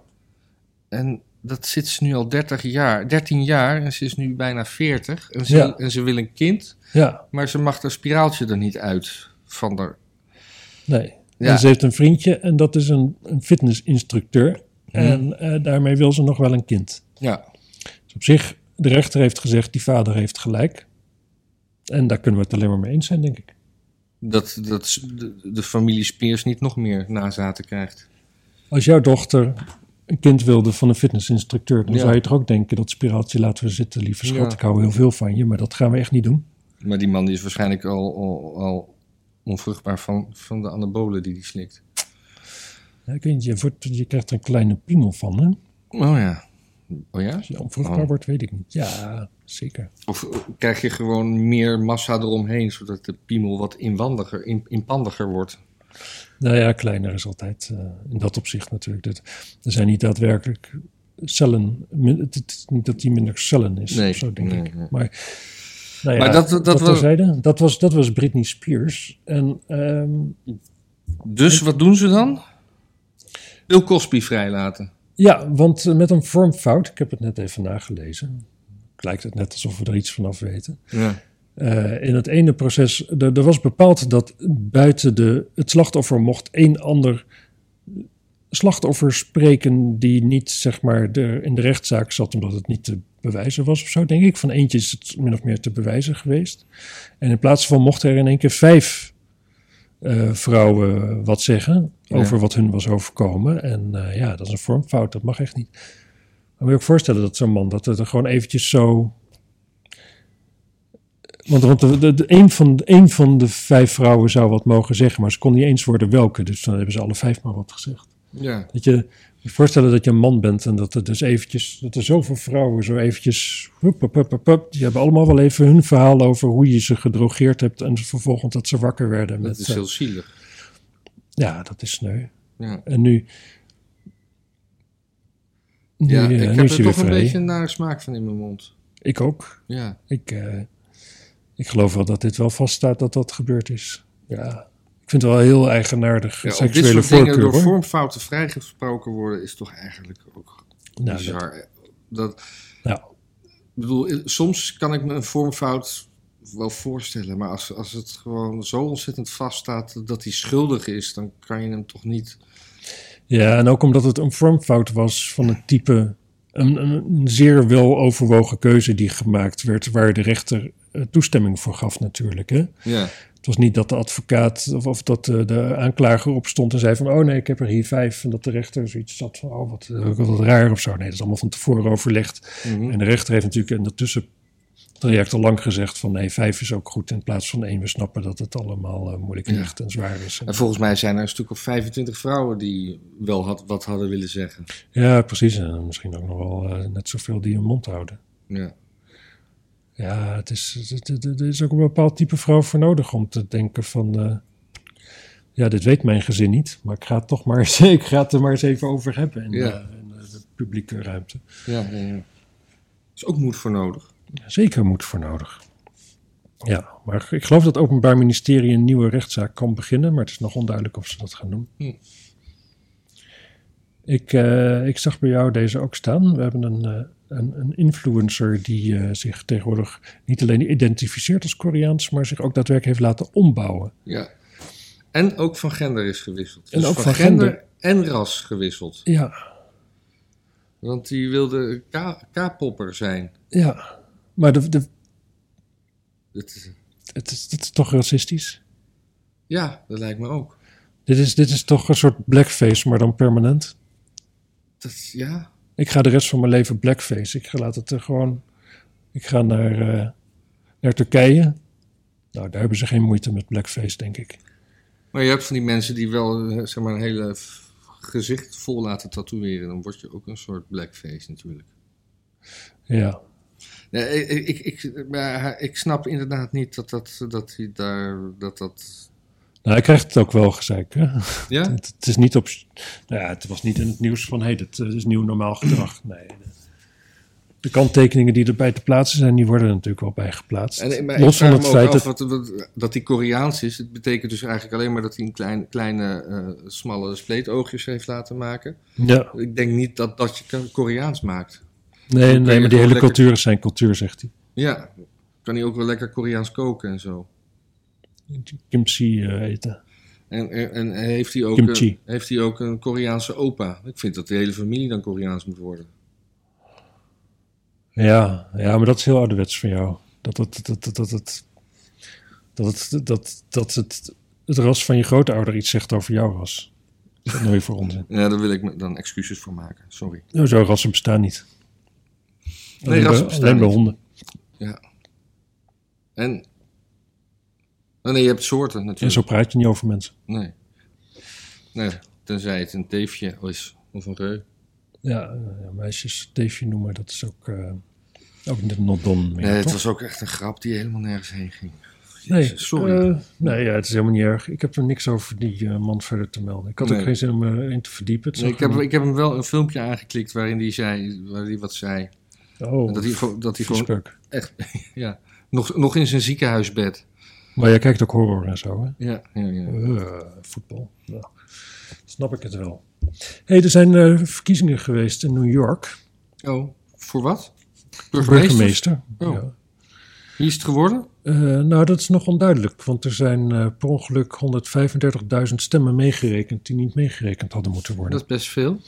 Speaker 2: En dat zit ze nu al 30 jaar, 13 jaar en ze is nu bijna 40. En ze,
Speaker 1: Ja.
Speaker 2: en ze wil een kind,
Speaker 1: ja,
Speaker 2: maar ze mag haar spiraaltje er niet uit van haar.
Speaker 1: nee.
Speaker 2: Ja.
Speaker 1: En ze heeft een vriendje en dat is een, een fitnessinstructeur.
Speaker 2: Mhm.
Speaker 1: En eh, daarmee wil ze nog wel een kind.
Speaker 2: Ja,
Speaker 1: Dus op zich, de rechter heeft gezegd, die vader heeft gelijk. En daar kunnen we het alleen maar mee eens zijn, denk ik.
Speaker 2: dat, dat s- de, de familie Spears niet nog meer nazaten krijgt.
Speaker 1: Als jouw dochter een kind wilde van een fitnessinstructeur, dan
Speaker 2: Ja.
Speaker 1: zou je toch ook denken, dat spiraaltje laten we zitten, lieve schat,
Speaker 2: Ja.
Speaker 1: ik hou heel veel van je, maar dat gaan we echt niet doen.
Speaker 2: Maar die man die is waarschijnlijk al, al, al onvruchtbaar van, van de anabolen die hij slikt.
Speaker 1: Ja, ik weet niet, je, wordt, je krijgt er een kleine piemel van, hè?
Speaker 2: Oh ja. Oh ja?
Speaker 1: Als je onvruchtbaar
Speaker 2: Oh.
Speaker 1: wordt, weet ik niet. Ja, zeker.
Speaker 2: Of eh, krijg je gewoon meer massa eromheen, zodat de piemel wat inwandiger, in, inpandiger wordt?
Speaker 1: Nou ja, kleiner is altijd eh, in dat opzicht natuurlijk. Dat, er zijn niet daadwerkelijk cellen, min- het, het is niet dat die minder cellen is,
Speaker 2: Nee,
Speaker 1: of zo denk
Speaker 2: nee,
Speaker 1: ik.
Speaker 2: nee.
Speaker 1: Maar, nou ja,
Speaker 2: Maar dat-
Speaker 1: dat,
Speaker 2: dat
Speaker 1: dat,
Speaker 2: was-
Speaker 1: was, dat, was, dat was Britney Spears. En ehm,
Speaker 2: Dus wat doen ze dan? Bill Cosby vrijlaten.
Speaker 1: ja, want eh, met een vormfout, ik heb het net even nagelezen, lijkt het net alsof we er iets vanaf weten.
Speaker 2: Ja.
Speaker 1: Eh, in het ene proces, er, er was bepaald dat buiten de, het slachtoffer mocht één ander slachtoffer spreken die niet zeg maar de, in de rechtszaak zat omdat het niet te bewijzen was of zo, denk ik. Van eentje is het min of meer te bewijzen geweest. En in plaats van mochten er in één keer vijf eh, vrouwen wat zeggen
Speaker 2: Ja.
Speaker 1: over wat hun was overkomen. En eh, ja, dat is een vormfout, dat mag echt niet. Maar moet je ook voorstellen dat zo'n man, dat het er gewoon eventjes zo... Want, want de, de, de- een, van, een van de vijf vrouwen zou wat mogen zeggen, maar ze kon niet eens worden welke. Dus dan hebben ze alle vijf maar wat gezegd.
Speaker 2: Ja.
Speaker 1: Dat je moet je voorstellen dat je een man bent en dat er dus eventjes, dat er zoveel vrouwen zo eventjes, hup, hup, hup, hup, hup, die hebben allemaal wel even hun verhaal over hoe je ze gedrogeerd hebt en vervolgens dat ze wakker werden.
Speaker 2: Dat
Speaker 1: Met,
Speaker 2: is
Speaker 1: eh,
Speaker 2: heel zielig.
Speaker 1: ja, dat is sneu.
Speaker 2: Ja.
Speaker 1: En nu... nu,
Speaker 2: Ja,
Speaker 1: eh,
Speaker 2: ik
Speaker 1: nu
Speaker 2: heb
Speaker 1: is
Speaker 2: er
Speaker 1: hij weer
Speaker 2: toch een
Speaker 1: vrij.
Speaker 2: beetje een nare smaak van in mijn mond.
Speaker 1: Ik ook.
Speaker 2: Ja,
Speaker 1: Ik, eh, ik geloof wel dat dit wel vaststaat dat dat gebeurd is. Ja. Ik vind het wel heel eigenaardig.
Speaker 2: ja om dit
Speaker 1: seksuele
Speaker 2: soort
Speaker 1: voorkeur,
Speaker 2: dingen door
Speaker 1: hoor.
Speaker 2: vormfouten vrijgesproken worden is toch eigenlijk ook
Speaker 1: nou, dat-
Speaker 2: bizar. Dat,
Speaker 1: nou,
Speaker 2: ik bedoel, i- soms kan ik me een vormfout wel voorstellen, maar als, als het gewoon zo ontzettend vaststaat dat hij schuldig is, dan kan je hem toch niet.
Speaker 1: ja, en ook omdat het een vormfout was van het type... Een, een, een zeer wel overwogen keuze die gemaakt werd... waar de rechter eh, toestemming voor gaf natuurlijk, hè.
Speaker 2: Ja,
Speaker 1: Het was niet dat de advocaat of, of dat de, de aanklager opstond en zei van... oh nee, ik heb er hier vijf. En dat de rechter zoiets zat van, oh wat, eh, wat raar of zo. Nee, dat is allemaal van tevoren overlegd.
Speaker 2: Mhm.
Speaker 1: En de rechter heeft natuurlijk in dat tussentraject al lang gezegd van... nee, vijf is ook goed in plaats van één. We snappen dat het allemaal eh, moeilijk en
Speaker 2: Ja.
Speaker 1: licht en zwaar is. En-
Speaker 2: en volgens mij zijn er een stuk of 25 vrouwen die wel had, wat hadden willen zeggen.
Speaker 1: ja, precies. En misschien ook nog wel eh, net zoveel die hun mond houden.
Speaker 2: Ja,
Speaker 1: Ja, het is, het- het- het- er is ook een bepaald type vrouw voor nodig om te denken van... eh, ja, dit weet mijn gezin niet, maar ik ga het toch maar eens, ik ga het er maar eens even over hebben in,
Speaker 2: Ja.
Speaker 1: eh, in, eh, de publieke ruimte.
Speaker 2: ja, ja. ja. Er is ook moed voor nodig.
Speaker 1: Zeker moed voor nodig. Ja, maar ik geloof dat het Openbaar Ministerie een nieuwe rechtszaak kan beginnen, maar het is nog onduidelijk of ze dat gaan doen.
Speaker 2: Hm.
Speaker 1: Ik, eh, ik zag bij jou deze ook staan. We hebben een, eh, een, een influencer die eh, zich tegenwoordig niet alleen identificeert als Koreaans, maar zich ook daadwerkelijk heeft laten ombouwen.
Speaker 2: Ja. En ook van gender is gewisseld.
Speaker 1: En
Speaker 2: Dus
Speaker 1: ook van
Speaker 2: en ras gewisseld.
Speaker 1: Ja,
Speaker 2: Want die wilde K- K-popper zijn.
Speaker 1: ja. Maar de, de,
Speaker 2: Dat is,
Speaker 1: het, is, het is toch racistisch?
Speaker 2: ja, dat lijkt me ook.
Speaker 1: Dit is, dit is toch een soort blackface, maar dan permanent?
Speaker 2: Dat, is- ja,
Speaker 1: Ik ga de rest van mijn leven blackface. Ik ga laat het er gewoon. Ik ga naar, eh, naar Turkije. Nou, daar hebben ze geen moeite met blackface, denk ik.
Speaker 2: Maar je hebt van die mensen die wel eh, zeg maar, een hele f- gezicht vol laten tatoeëren. Dan word je ook een soort blackface natuurlijk.
Speaker 1: Ja. Nou,
Speaker 2: Nee, ik, ik, ik, maar hij- ik snap inderdaad niet dat dat, dat hij daar... Dat, dat,
Speaker 1: Nou, ik krijg het ook wel gezeik. Hè?
Speaker 2: ja?
Speaker 1: Het, het is niet op. Nou ja, het was niet in het nieuws van. hé, hey, dit eh, is nieuw normaal gedrag. Nee. De kanttekeningen die erbij te plaatsen zijn, die worden er natuurlijk wel bij geplaatst.
Speaker 2: En, maar
Speaker 1: Los
Speaker 2: ik vraag
Speaker 1: van het
Speaker 2: me ook
Speaker 1: feit
Speaker 2: af
Speaker 1: dat.
Speaker 2: wat, wat- dat hij Koreaans is. Het betekent dus eigenlijk alleen maar dat hij een klein, kleine, eh, smalle spleetoogjes heeft laten maken.
Speaker 1: Ja,
Speaker 2: Ik denk niet dat dat je Ko- Koreaans maakt.
Speaker 1: nee, nee, maar die hele
Speaker 2: lekker-
Speaker 1: cultuur is zijn cultuur, zegt hij.
Speaker 2: Ja, kan hij ook wel lekker Koreaans koken en zo.
Speaker 1: Kimchi eh, eten.
Speaker 2: En, en, en heeft, hij ook
Speaker 1: Kimchi.
Speaker 2: een, heeft hij ook een Koreaanse opa? Ik vind dat de hele familie dan Koreaans moet worden.
Speaker 1: Ja, ja, maar dat is heel ouderwets van jou. Dat het, dat, dat, dat, het, dat, het, dat, dat het, het ras van je grootouder iets zegt over jouw ras. Dat is nooit voor onzin.
Speaker 2: Ja, daar wil ik me dan excuses voor maken. Sorry.
Speaker 1: Nou, zo rassen bestaan niet.
Speaker 2: Nee,
Speaker 1: Alleen bij-
Speaker 2: rassen bestaan
Speaker 1: Alleen bij
Speaker 2: niet.
Speaker 1: honden.
Speaker 2: En. Oh nee, je hebt soorten
Speaker 1: En
Speaker 2: natuurlijk.
Speaker 1: zo praat je niet over mensen.
Speaker 2: Nee. Nee, tenzij het een teefje is of een reu.
Speaker 1: Ja, eh, meisjes teefje noemen, dat is ook, eh ook niet not done meer,
Speaker 2: Nee, het
Speaker 1: toch?
Speaker 2: was ook echt een grap die helemaal nergens heen ging.
Speaker 1: Nee,
Speaker 2: Jezus, sorry.
Speaker 1: eh, nee ja, het is helemaal niet erg. Ik heb er niks over die eh, man verder te melden. Ik had
Speaker 2: Nee.
Speaker 1: ook geen zin om erin te verdiepen. Het
Speaker 2: Nee,
Speaker 1: zag
Speaker 2: ik, heb,
Speaker 1: er
Speaker 2: ik heb hem wel een filmpje aangeklikt waarin hij zei, waar hij wat zei.
Speaker 1: niet- Oh,
Speaker 2: Dat hij, gewoon- dat hij
Speaker 1: vies
Speaker 2: gewoon
Speaker 1: peuk.
Speaker 2: echt, ja, nog, nog in zijn ziekenhuisbed.
Speaker 1: Maar jij kijkt ook horror en zo, hè?
Speaker 2: Ja, ja, ja.
Speaker 1: Eh, voetbal. Nou, snap ik het wel. hey, er zijn eh, verkiezingen geweest in New York.
Speaker 2: Oh, voor wat?
Speaker 1: Burgemeester.
Speaker 2: Oh.
Speaker 1: Ja.
Speaker 2: Wie is het geworden?
Speaker 1: Eh, nou, dat is nog onduidelijk, want er zijn eh, per ongeluk 135.000 stemmen meegerekend die niet meegerekend hadden moeten worden.
Speaker 2: Dat is best veel.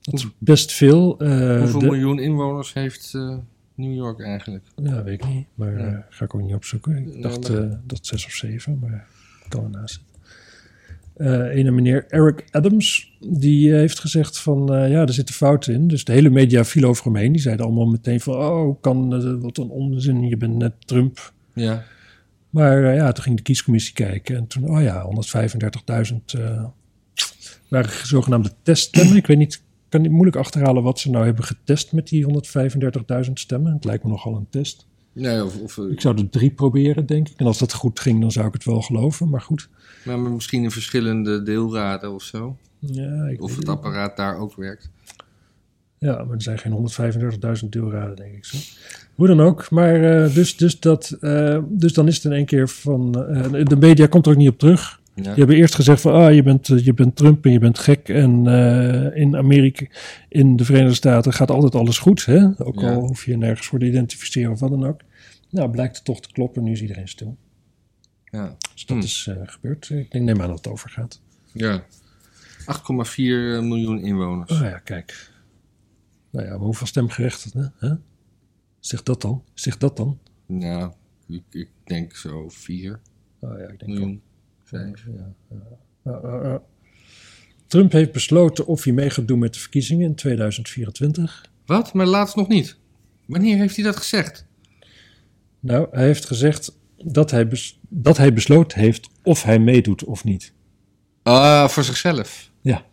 Speaker 1: Dat is best veel. eh,
Speaker 2: Hoeveel
Speaker 1: de-
Speaker 2: miljoen inwoners heeft eh, New York eigenlijk?
Speaker 1: Ja, Nou, weet ik niet, maar
Speaker 2: Ja.
Speaker 1: eh, ga ik ook niet opzoeken. Ik
Speaker 2: Nee,
Speaker 1: dacht
Speaker 2: maar-
Speaker 1: eh, dat zes of zeven, maar ik kan ernaast zitten. Eh ene meneer Eric Adams, die eh, heeft gezegd van, eh, ja, er zitten fouten in. Dus de hele media viel over hem heen. Die zeiden allemaal meteen van, oh, kan, eh, wat een onzin, je bent net Trump.
Speaker 2: Ja.
Speaker 1: Maar eh, ja, toen ging de kiescommissie kijken en toen, oh ja, 135.000 eh, waren zogenaamde teststemmen. Ik weet niet, ik kan niet moeilijk achterhalen wat ze nou hebben getest met die 135.000 stemmen. Het lijkt me nogal een test.
Speaker 2: Nee, of, of, eh,
Speaker 1: Ik zou er drie proberen, denk ik. En als dat goed ging, dan zou ik het wel geloven. Maar goed,
Speaker 2: maar misschien in verschillende deelraden of zo.
Speaker 1: Ja, ik
Speaker 2: Of
Speaker 1: weet
Speaker 2: het apparaat daar ook werkt.
Speaker 1: Ja, maar er zijn geen 135.000 deelraden, denk ik zo. Hoe dan ook. Maar eh, dus, dus, dat, eh, dus dan is het in één keer van... eh, de media komt er ook niet op terug.
Speaker 2: Ja.
Speaker 1: Die hebben eerst gezegd van... Ah, je bent, eh, je bent Trump en je bent gek. En eh, in Amerika, in de Verenigde Staten gaat altijd alles goed. Hè? Ook
Speaker 2: Ja.
Speaker 1: al hoef je je nergens voor te identificeren of wat dan ook. Nou, blijkt het toch te kloppen. Nu is iedereen stil.
Speaker 2: Ja.
Speaker 1: Dus dat
Speaker 2: Hmm.
Speaker 1: is eh, gebeurd. Ik denk, neem aan dat het overgaat.
Speaker 2: Ja. 8,4 miljoen inwoners.
Speaker 1: Oh ja, kijk. Nou ja, maar hoeveel stemgerechtigden? Hè? Zeg dat dan. Zeg dat dan.
Speaker 2: Nou, ik, ik denk zo 4
Speaker 1: Oh ja, ik denk ook.
Speaker 2: miljoen. Vijf.
Speaker 1: Ja, ja. Ja, ja, ja. Trump heeft besloten of hij mee gaat doen met de verkiezingen in 2024.
Speaker 2: Wat? Maar laatst nog niet. Wanneer heeft hij dat gezegd?
Speaker 1: Nou, hij heeft gezegd dat hij, bes- dat hij besloten heeft of hij meedoet of niet.
Speaker 2: Ah, voor zichzelf.
Speaker 1: Ja.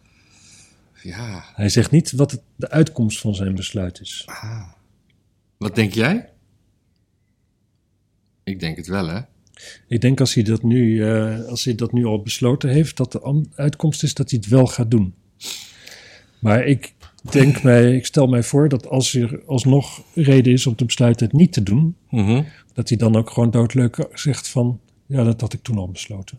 Speaker 2: Ja.
Speaker 1: Hij zegt niet wat het, de uitkomst van zijn besluit is.
Speaker 2: Ah. Wat denk jij? Ik denk het wel, hè?
Speaker 1: Ik denk als hij dat nu, eh, als hij dat nu al besloten heeft, dat de am- uitkomst is dat hij het wel gaat doen. Maar ik denk mij, ik stel mij voor dat als er alsnog reden is om te besluiten het niet te doen,
Speaker 2: Mhm.
Speaker 1: Dat hij dan ook gewoon doodleuk zegt van... Ja, dat had ik toen al besloten.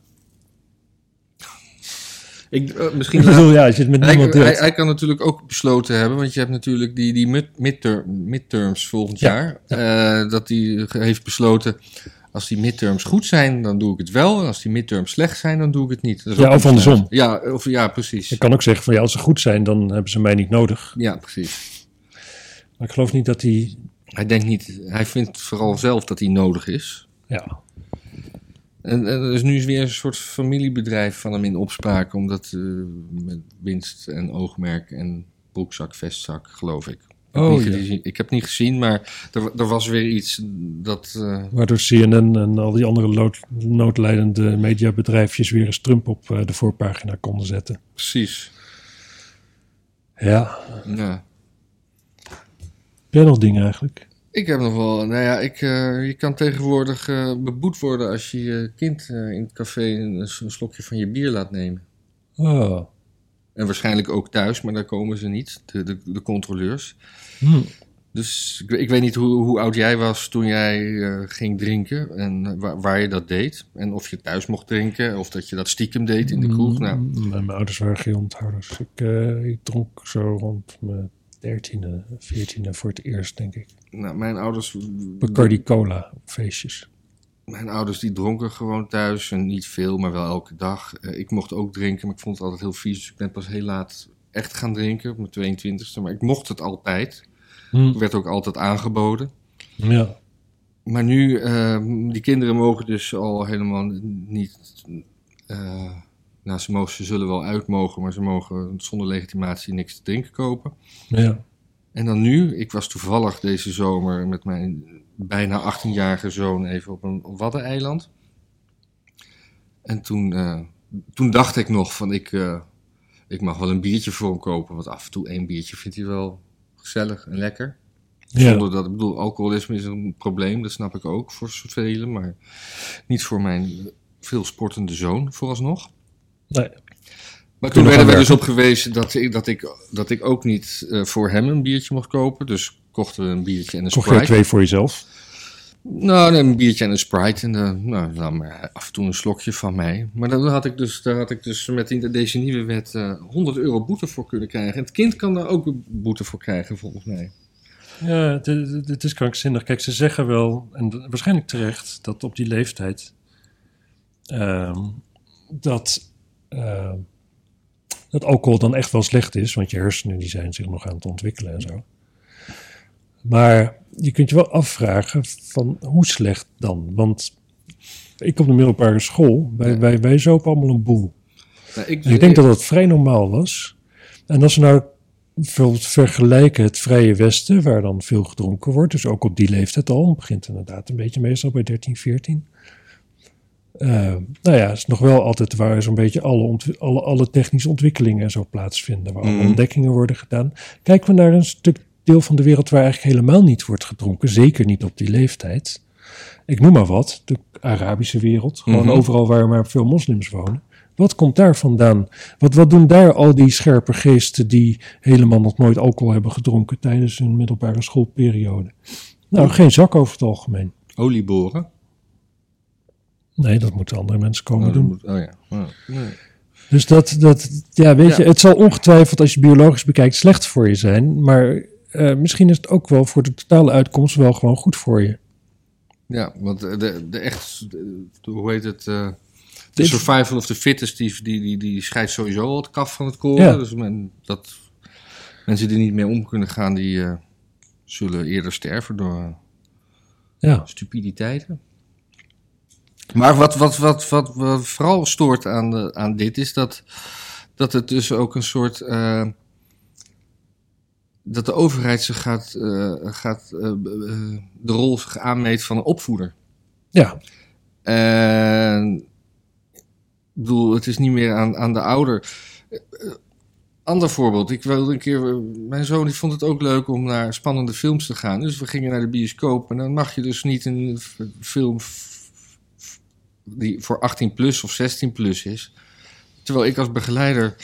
Speaker 2: Ik, eh, misschien
Speaker 1: Ik bedoel, ja, je zit met
Speaker 2: Hij,
Speaker 1: niemand
Speaker 2: hij,
Speaker 1: deelt.
Speaker 2: hij kan natuurlijk ook besloten hebben, want je hebt natuurlijk die, die mid, midter- midterms volgend
Speaker 1: Ja,
Speaker 2: jaar. eh, dat hij ge- heeft besloten, als die midterms goed zijn, dan doe ik het wel. En als die midterms slecht zijn, dan doe ik het niet. Dat is
Speaker 1: Ja,
Speaker 2: ook een
Speaker 1: of andersom.
Speaker 2: besluit. Ja, of, ja, precies.
Speaker 1: Ik kan ook zeggen van ja, als ze goed zijn, dan hebben ze mij niet nodig.
Speaker 2: Ja, precies.
Speaker 1: Maar ik geloof niet dat hij...
Speaker 2: Hij denkt niet, hij vindt vooral zelf dat hij nodig is.
Speaker 1: Ja,
Speaker 2: En, en er is nu weer een soort familiebedrijf van hem in opspraak, omdat eh, met winst en oogmerk en broekzak, vestzak, geloof ik. Ik heb
Speaker 1: Oh,
Speaker 2: niet
Speaker 1: ja.
Speaker 2: gezien- Ik heb niet gezien, maar er, wa- er was weer iets dat. eh,
Speaker 1: waardoor CNN en al die andere lood- noodlijdende mediabedrijfjes... weer eens Trump op eh, de voorpagina konden zetten.
Speaker 2: precies.
Speaker 1: Ja,
Speaker 2: Ja.
Speaker 1: heb jij nog dingen eigenlijk?
Speaker 2: Ik heb nog wel. Nou ja, ik, eh, je kan tegenwoordig eh, beboet worden als je je kind eh, in het café een, een slokje van je bier laat nemen.
Speaker 1: Oh,
Speaker 2: En waarschijnlijk ook thuis, maar daar komen ze niet, de, de, de controleurs.
Speaker 1: hm.
Speaker 2: Dus ik, ik weet niet hoe, hoe oud jij was toen jij eh, ging drinken en eh, waar, waar je dat deed. En of je thuis mocht drinken of dat je dat stiekem deed in de kroeg. Nou,
Speaker 1: Mm, Mijn ouders waren geen onthouders. Ik, eh, ik dronk zo rond mijn dertiende, veertiende voor het eerst, denk ik.
Speaker 2: nou, mijn ouders...
Speaker 1: Bacardi Cola op feestjes.
Speaker 2: Mijn ouders die dronken gewoon thuis en niet veel, maar wel elke dag. Eh, ik mocht ook drinken, maar ik vond het altijd heel vies. Dus ik ben pas heel laat echt gaan drinken, op mijn 22e. Maar ik mocht het altijd.
Speaker 1: Hm.
Speaker 2: Ik werd ook altijd aangeboden.
Speaker 1: Ja.
Speaker 2: Maar nu, ehm, die kinderen mogen dus al helemaal niet. eh nou, ze, mogen, ze zullen wel uit mogen, maar ze mogen zonder legitimatie niks te drinken kopen.
Speaker 1: Ja.
Speaker 2: En dan nu, ik was toevallig deze zomer met mijn bijna 18-jarige zoon even op een waddeneiland. En toen, eh, toen dacht ik nog van ik, eh, ik mag wel een biertje voor hem kopen, want af en toe één biertje vindt hij wel gezellig en lekker.
Speaker 1: Ja.
Speaker 2: Zonder dat, ik bedoel, alcoholisme is een probleem, dat snap ik ook voor velen, maar niet voor mijn veel sportende zoon vooralsnog.
Speaker 1: Nee.
Speaker 2: Maar
Speaker 1: Kunnen
Speaker 2: toen
Speaker 1: we
Speaker 2: werden
Speaker 1: gaan
Speaker 2: we dus op gewezen dat ik, dat ik, dat ik ook niet eh, voor hem een biertje mocht kopen. Dus kochten we een biertje en een
Speaker 1: Kocht jij
Speaker 2: Sprite.
Speaker 1: twee voor jezelf?
Speaker 2: Nou, nee, een biertje en een Sprite. En eh, nou, dan maar af en toe een slokje van mij. Maar dan had ik dus, daar had ik dus met die- deze nieuwe wet eh 100 euro boete voor kunnen krijgen. En het kind kan daar ook een boete voor krijgen, volgens mij.
Speaker 1: Ja, het, het- het is krankzinnig. Kijk, ze zeggen wel, en d- waarschijnlijk terecht, dat op die leeftijd ehm, dat, ehm, dat alcohol dan echt wel slecht is, want je hersenen die zijn zich nog aan het ontwikkelen en zo. Maar je kunt je wel afvragen van hoe slecht dan? Want ik op de middelbare school, wij,
Speaker 2: Ja.
Speaker 1: wij, wij zopen allemaal een boel. Dus
Speaker 2: Nou,
Speaker 1: ik denk dat dat vrij normaal was. En als we nou bijvoorbeeld vergelijken het Vrije Westen, waar dan veel gedronken wordt, dus ook op die leeftijd al, het begint inderdaad een beetje meestal bij 13, 14. Eh, nou ja, het is nog wel altijd waar zo'n beetje alle, ont- alle, alle technische ontwikkelingen en zo plaatsvinden, waar alle
Speaker 2: Mhm.
Speaker 1: ontdekkingen worden gedaan. Kijken we naar een stuk deel van de wereld waar eigenlijk helemaal niet wordt gedronken, zeker niet op die leeftijd. Ik noem maar wat, de Arabische wereld, gewoon
Speaker 2: Mhm.
Speaker 1: overal waar maar veel moslims wonen. Wat komt daar vandaan? Wat, wat doen daar al die scherpe geesten die helemaal nog nooit alcohol hebben gedronken tijdens hun middelbare schoolperiode? Nou, geen zak over het algemeen.
Speaker 2: Olie boren.
Speaker 1: Nee, dat moeten andere mensen komen
Speaker 2: Oh, dat
Speaker 1: doen.
Speaker 2: moet- oh ja. Ja. Nee.
Speaker 1: Dus dat, dat ja, weet
Speaker 2: Ja.
Speaker 1: je, het zal ongetwijfeld als je biologisch bekijkt slecht voor je zijn. Maar eh, misschien is het ook wel voor de totale uitkomst wel gewoon goed voor je.
Speaker 2: Ja, want eh, de, de echt, de- hoe heet het? eh, de
Speaker 1: Dit-
Speaker 2: survival of the fittest, die, die, die, die scheidt sowieso al het kaf van het koren.
Speaker 1: Ja.
Speaker 2: Dus men, dat, mensen die niet meer om kunnen gaan, die eh, zullen eerder sterven door eh,
Speaker 1: Ja,
Speaker 2: stupiditeiten. Maar wat, wat, wat, wat, wat vooral stoort aan, de, aan dit is dat, dat het dus ook een soort. eh, dat de overheid zich gaat, eh, gaat, eh, b- eh, de rol zich aanmeet van een opvoeder.
Speaker 1: ja,
Speaker 2: En, ik bedoel, het is niet meer aan, aan de ouder. Eh, eh, Ander voorbeeld. Ik wilde een keer. eh, Mijn zoon die vond het ook leuk om naar spannende films te gaan. Dus we gingen naar de bioscoop. En dan mag je dus niet een f- film f- f- die voor 18 plus of 16 plus is. Terwijl ik als begeleider.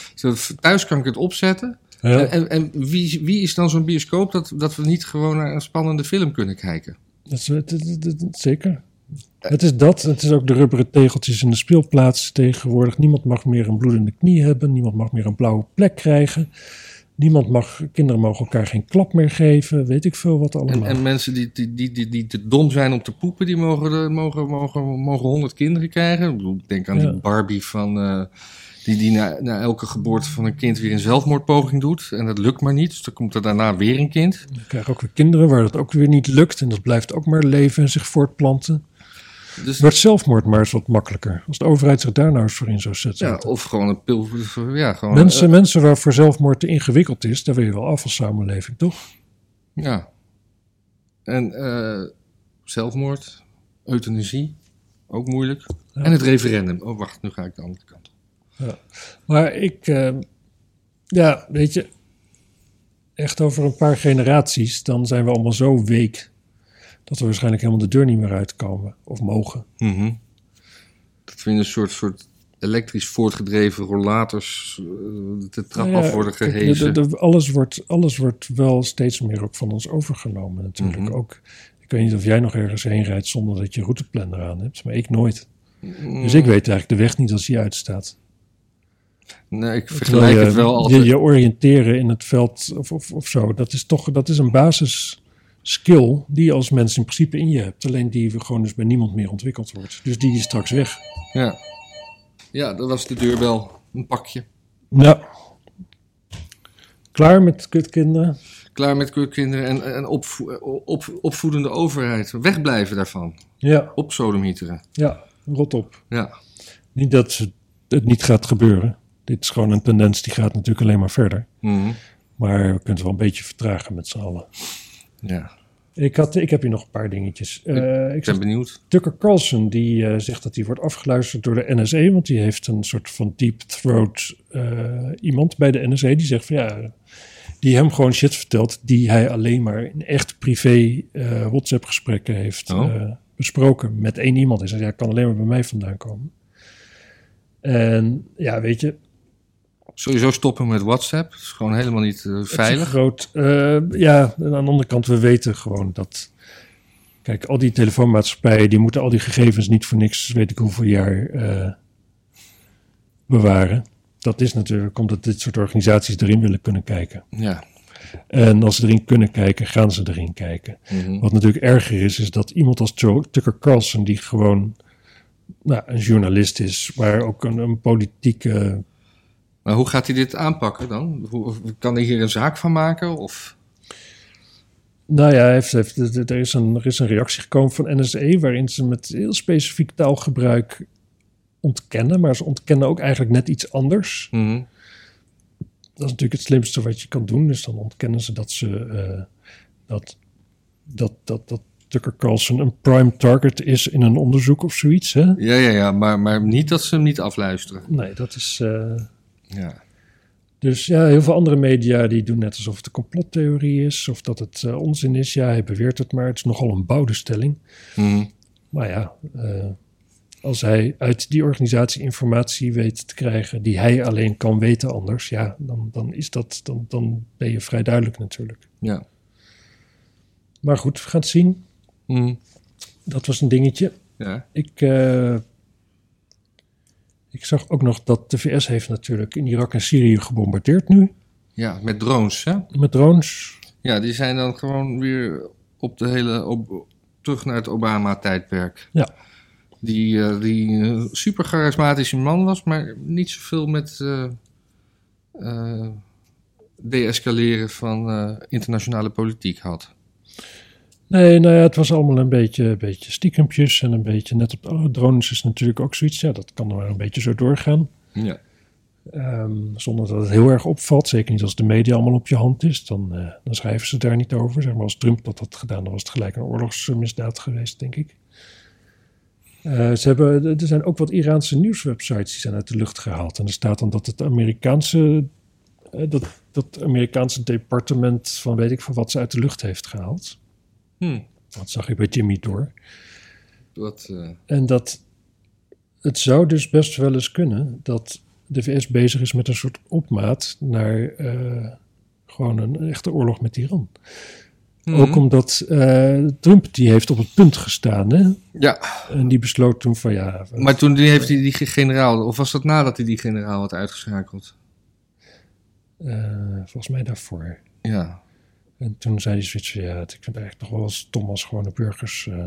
Speaker 2: Thuis kan ik het opzetten.
Speaker 1: ja,
Speaker 2: En, en wie, wie is dan zo'n bioscoop dat, dat we niet gewoon naar een spannende film kunnen kijken?
Speaker 1: dat is- dat- dat- dat- dat- zeker. Het is dat, het is ook de rubberen tegeltjes in de speelplaats tegenwoordig. Niemand mag meer een bloedende knie hebben, niemand mag meer een blauwe plek krijgen. Niemand mag, kinderen mogen elkaar geen klap meer geven, weet ik veel wat
Speaker 2: En,
Speaker 1: allemaal.
Speaker 2: en mensen die, die, die, die, die te dom zijn om te poepen, die mogen de- mogen, mogen, mogen 100 kinderen krijgen. Ik bedoel, ik denk aan
Speaker 1: Ja.
Speaker 2: die Barbie van, eh, die, die na, na elke geboorte van een kind weer een zelfmoordpoging doet. En dat lukt maar niet, dus dan komt er daarna weer een kind.
Speaker 1: We krijgen ook weer kinderen waar dat ook weer niet lukt en dat blijft ook maar leven en zich voortplanten.
Speaker 2: Dus,
Speaker 1: Wordt zelfmoord maar eens wat makkelijker. Als de overheid zich daar nou eens voor in zou zetten.
Speaker 2: ja, of gewoon een pil. Ja, gewoon,
Speaker 1: mensen, mensen waarvoor zelfmoord te ingewikkeld is, daar wil je wel af als samenleving, toch?
Speaker 2: eh, ja. En eh, zelfmoord, euthanasie, ook moeilijk.
Speaker 1: Ja.
Speaker 2: En het referendum. Oh, wacht, nu ga ik de andere kant op.
Speaker 1: Maar ik, eh, ja, weet je, echt over een paar generaties, dan zijn we allemaal zo week dat we waarschijnlijk helemaal de deur niet meer uitkomen of mogen.
Speaker 2: Mhm. Dat we in een soort, soort elektrisch voortgedreven rollators eh, de trap
Speaker 1: Nou ja,
Speaker 2: af worden
Speaker 1: kijk, de-
Speaker 2: gehezen.
Speaker 1: de- de- alles, wordt, alles wordt wel steeds meer ook van ons overgenomen natuurlijk.
Speaker 2: Mhm.
Speaker 1: Ook, ik weet niet of jij nog ergens heen rijdt zonder dat je routeplanner aan hebt, maar ik nooit.
Speaker 2: Mhm.
Speaker 1: Dus ik weet eigenlijk de weg niet als die uitstaat.
Speaker 2: Mm. Nee, ik
Speaker 1: Terwijl
Speaker 2: vergelijk
Speaker 1: je-
Speaker 2: het wel
Speaker 1: je,
Speaker 2: altijd.
Speaker 1: je oriënteren in het veld of, of, of zo, dat is toch dat is een basis skill die je als mens in principe in je hebt. Alleen die gewoon dus bij niemand meer ontwikkeld wordt. Dus die is straks weg.
Speaker 2: Ja. ja, dat was de deurbel. Een pakje.
Speaker 1: Ja. Klaar met kutkinderen?
Speaker 2: Klaar met kinderen en, en opvo- op, opvoedende overheid. Wegblijven daarvan.
Speaker 1: Ja.
Speaker 2: Op sodomieteren.
Speaker 1: Ja, rot op.
Speaker 2: Ja.
Speaker 1: Niet dat ze- het niet gaat gebeuren. Dit is gewoon een tendens die gaat natuurlijk alleen maar verder.
Speaker 2: Mhm.
Speaker 1: Maar we kunnen het wel een beetje vertragen met z'n allen.
Speaker 2: ja.
Speaker 1: Ik, had, ik heb hier nog een paar dingetjes. Eh, ik
Speaker 2: Ik ben
Speaker 1: zag
Speaker 2: benieuwd.
Speaker 1: Tucker Carlson die eh, zegt dat hij wordt afgeluisterd door de NSE. Want die heeft een soort van deep throat eh, iemand bij de NSE. Die zegt van ja, die hem gewoon shit vertelt. Die hij alleen maar in echt privé eh, WhatsApp gesprekken heeft
Speaker 2: Oh.
Speaker 1: eh, besproken. Met één iemand. Hij zegt ja, kan alleen maar bij mij vandaan komen. En ja, weet je,
Speaker 2: Sowieso stoppen met WhatsApp. Dat is gewoon helemaal niet eh,
Speaker 1: Het
Speaker 2: veilig.
Speaker 1: is groot. Eh, ja, en aan de andere kant, we weten gewoon dat. Kijk, al die telefoonmaatschappijen, die moeten al die gegevens niet voor niks, weet ik hoeveel jaar, eh, bewaren. Dat is natuurlijk omdat dit soort organisaties erin willen kunnen kijken.
Speaker 2: Ja.
Speaker 1: En als ze erin kunnen kijken, gaan ze erin kijken.
Speaker 2: Mhm.
Speaker 1: Wat natuurlijk erger is, is dat iemand als Joe- Tucker Carlson, die gewoon nou, een journalist is, maar ook een, een politieke.
Speaker 2: Maar hoe gaat hij dit aanpakken dan? Hoe, kan hij hier een zaak van maken? Of...
Speaker 1: Nou ja, hij heeft, heeft- er- er, is een, er is een reactie gekomen van NSE waarin ze met heel specifiek taalgebruik ontkennen, maar ze ontkennen ook eigenlijk net iets anders.
Speaker 2: Mhm.
Speaker 1: Dat is natuurlijk het slimste wat je kan doen, dus dan ontkennen ze dat ze eh, dat, dat, dat, dat Tucker Carlson een prime target is in een onderzoek of zoiets. Hè?
Speaker 2: Ja, ja, ja, maar, maar niet dat ze hem niet afluisteren.
Speaker 1: Nee, dat is. eh,
Speaker 2: Ja.
Speaker 1: Dus ja, heel veel andere media die doen net alsof het een complottheorie is of dat het eh, onzin is. Ja, hij beweert het, maar het is nogal een bouwde stelling.
Speaker 2: Mhm.
Speaker 1: Maar ja, eh, als hij uit die organisatie informatie weet te krijgen die hij alleen kan weten anders, ja, dan, dan, is dat, dan, dan ben je vrij duidelijk natuurlijk.
Speaker 2: Ja.
Speaker 1: Maar goed, we gaan het zien.
Speaker 2: Mhm.
Speaker 1: Dat was een dingetje.
Speaker 2: ja.
Speaker 1: Ik, eh, ik zag ook nog dat de VS heeft natuurlijk in Irak en Syrië gebombardeerd nu.
Speaker 2: Ja, met drones, hè?
Speaker 1: Met drones.
Speaker 2: Ja, die zijn dan gewoon weer op de hele. Op, terug naar het Obama-tijdperk.
Speaker 1: Ja.
Speaker 2: Die, eh, die eh, super charismatische man was, maar niet zoveel met. eh eh, deescaleren van eh, internationale politiek had.
Speaker 1: Nee, nou ja, het was allemaal een beetje, een beetje stiekempjes en een beetje net op de oh, drones is natuurlijk ook zoiets. Ja, dat kan er maar een beetje zo doorgaan.
Speaker 2: Ja.
Speaker 1: Ehm, zonder dat het heel erg opvalt. Zeker niet als de media allemaal op je hand is. Dan, eh, dan schrijven ze daar niet over. Zeg maar als Trump dat had gedaan, dan was het gelijk een oorlogsmisdaad geweest, denk ik. Eh, ze hebben, er zijn ook wat Iraanse nieuwswebsites die zijn uit de lucht gehaald. En er staat dan dat het Amerikaanse, eh, dat, dat Amerikaanse departement van weet ik van wat ze uit de lucht heeft gehaald.
Speaker 2: Hm.
Speaker 1: Dat zag ik bij Jimmy door.
Speaker 2: Dat, eh,
Speaker 1: En dat het zou dus best wel eens kunnen dat de VS bezig is met een soort opmaat naar eh, gewoon een echte oorlog met Iran. Ook
Speaker 2: mhm.
Speaker 1: omdat eh, Trump die heeft op het punt gestaan hè?
Speaker 2: Ja,
Speaker 1: en die besloot toen van ja,
Speaker 2: maar toen die heeft hij die, die generaal, of was dat nadat hij die generaal had uitgeschakeld?
Speaker 1: eh, volgens mij daarvoor.
Speaker 2: Ja,
Speaker 1: En toen zei die zoiets van ja, het- ik vind het eigenlijk toch wel stom als gewone burgers eh,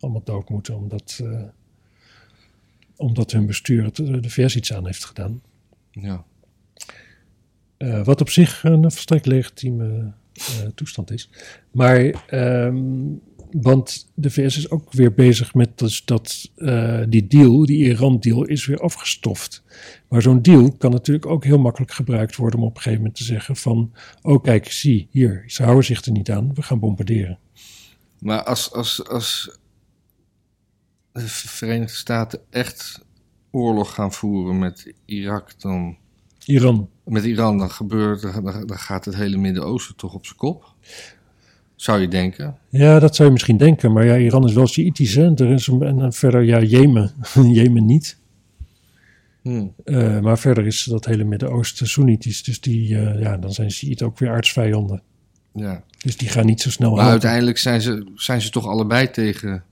Speaker 1: allemaal dood moeten omdat, eh, omdat hun bestuur het, de VS iets aan heeft gedaan.
Speaker 2: ja.
Speaker 1: Eh, wat op zich een volstrekt legitieme eh, toestand is. Maar, ehm, want de VS is ook weer bezig met dus dat, eh, die deal, die Iran-deal, is weer afgestoft. Maar zo'n deal kan natuurlijk ook heel makkelijk gebruikt worden om op een gegeven moment te zeggen van, oh kijk, zie, hier, ze houden zich er niet aan, we gaan bombarderen.
Speaker 2: Maar als, als, als de Verenigde Staten echt oorlog gaan voeren met Irak, dan,
Speaker 1: Iran.
Speaker 2: met Iran, dan, gebeurt, dan, dan gaat het hele Midden-Oosten toch op zijn kop. Zou je denken?
Speaker 1: Ja, dat zou je misschien denken, maar ja, Iran is wel Sjiïtisch, hè? Er is een, en, en verder, ja, Jemen. Jemen niet.
Speaker 2: Hm.
Speaker 1: Eh, maar verder is dat hele Midden-Oosten Soenitisch. Dus die, eh, ja, dan zijn Shiiten ook weer aardsvijanden.
Speaker 2: Ja.
Speaker 1: Dus die gaan niet zo snel
Speaker 2: Maar
Speaker 1: helpen.
Speaker 2: uiteindelijk zijn ze, zijn ze toch allebei tegen,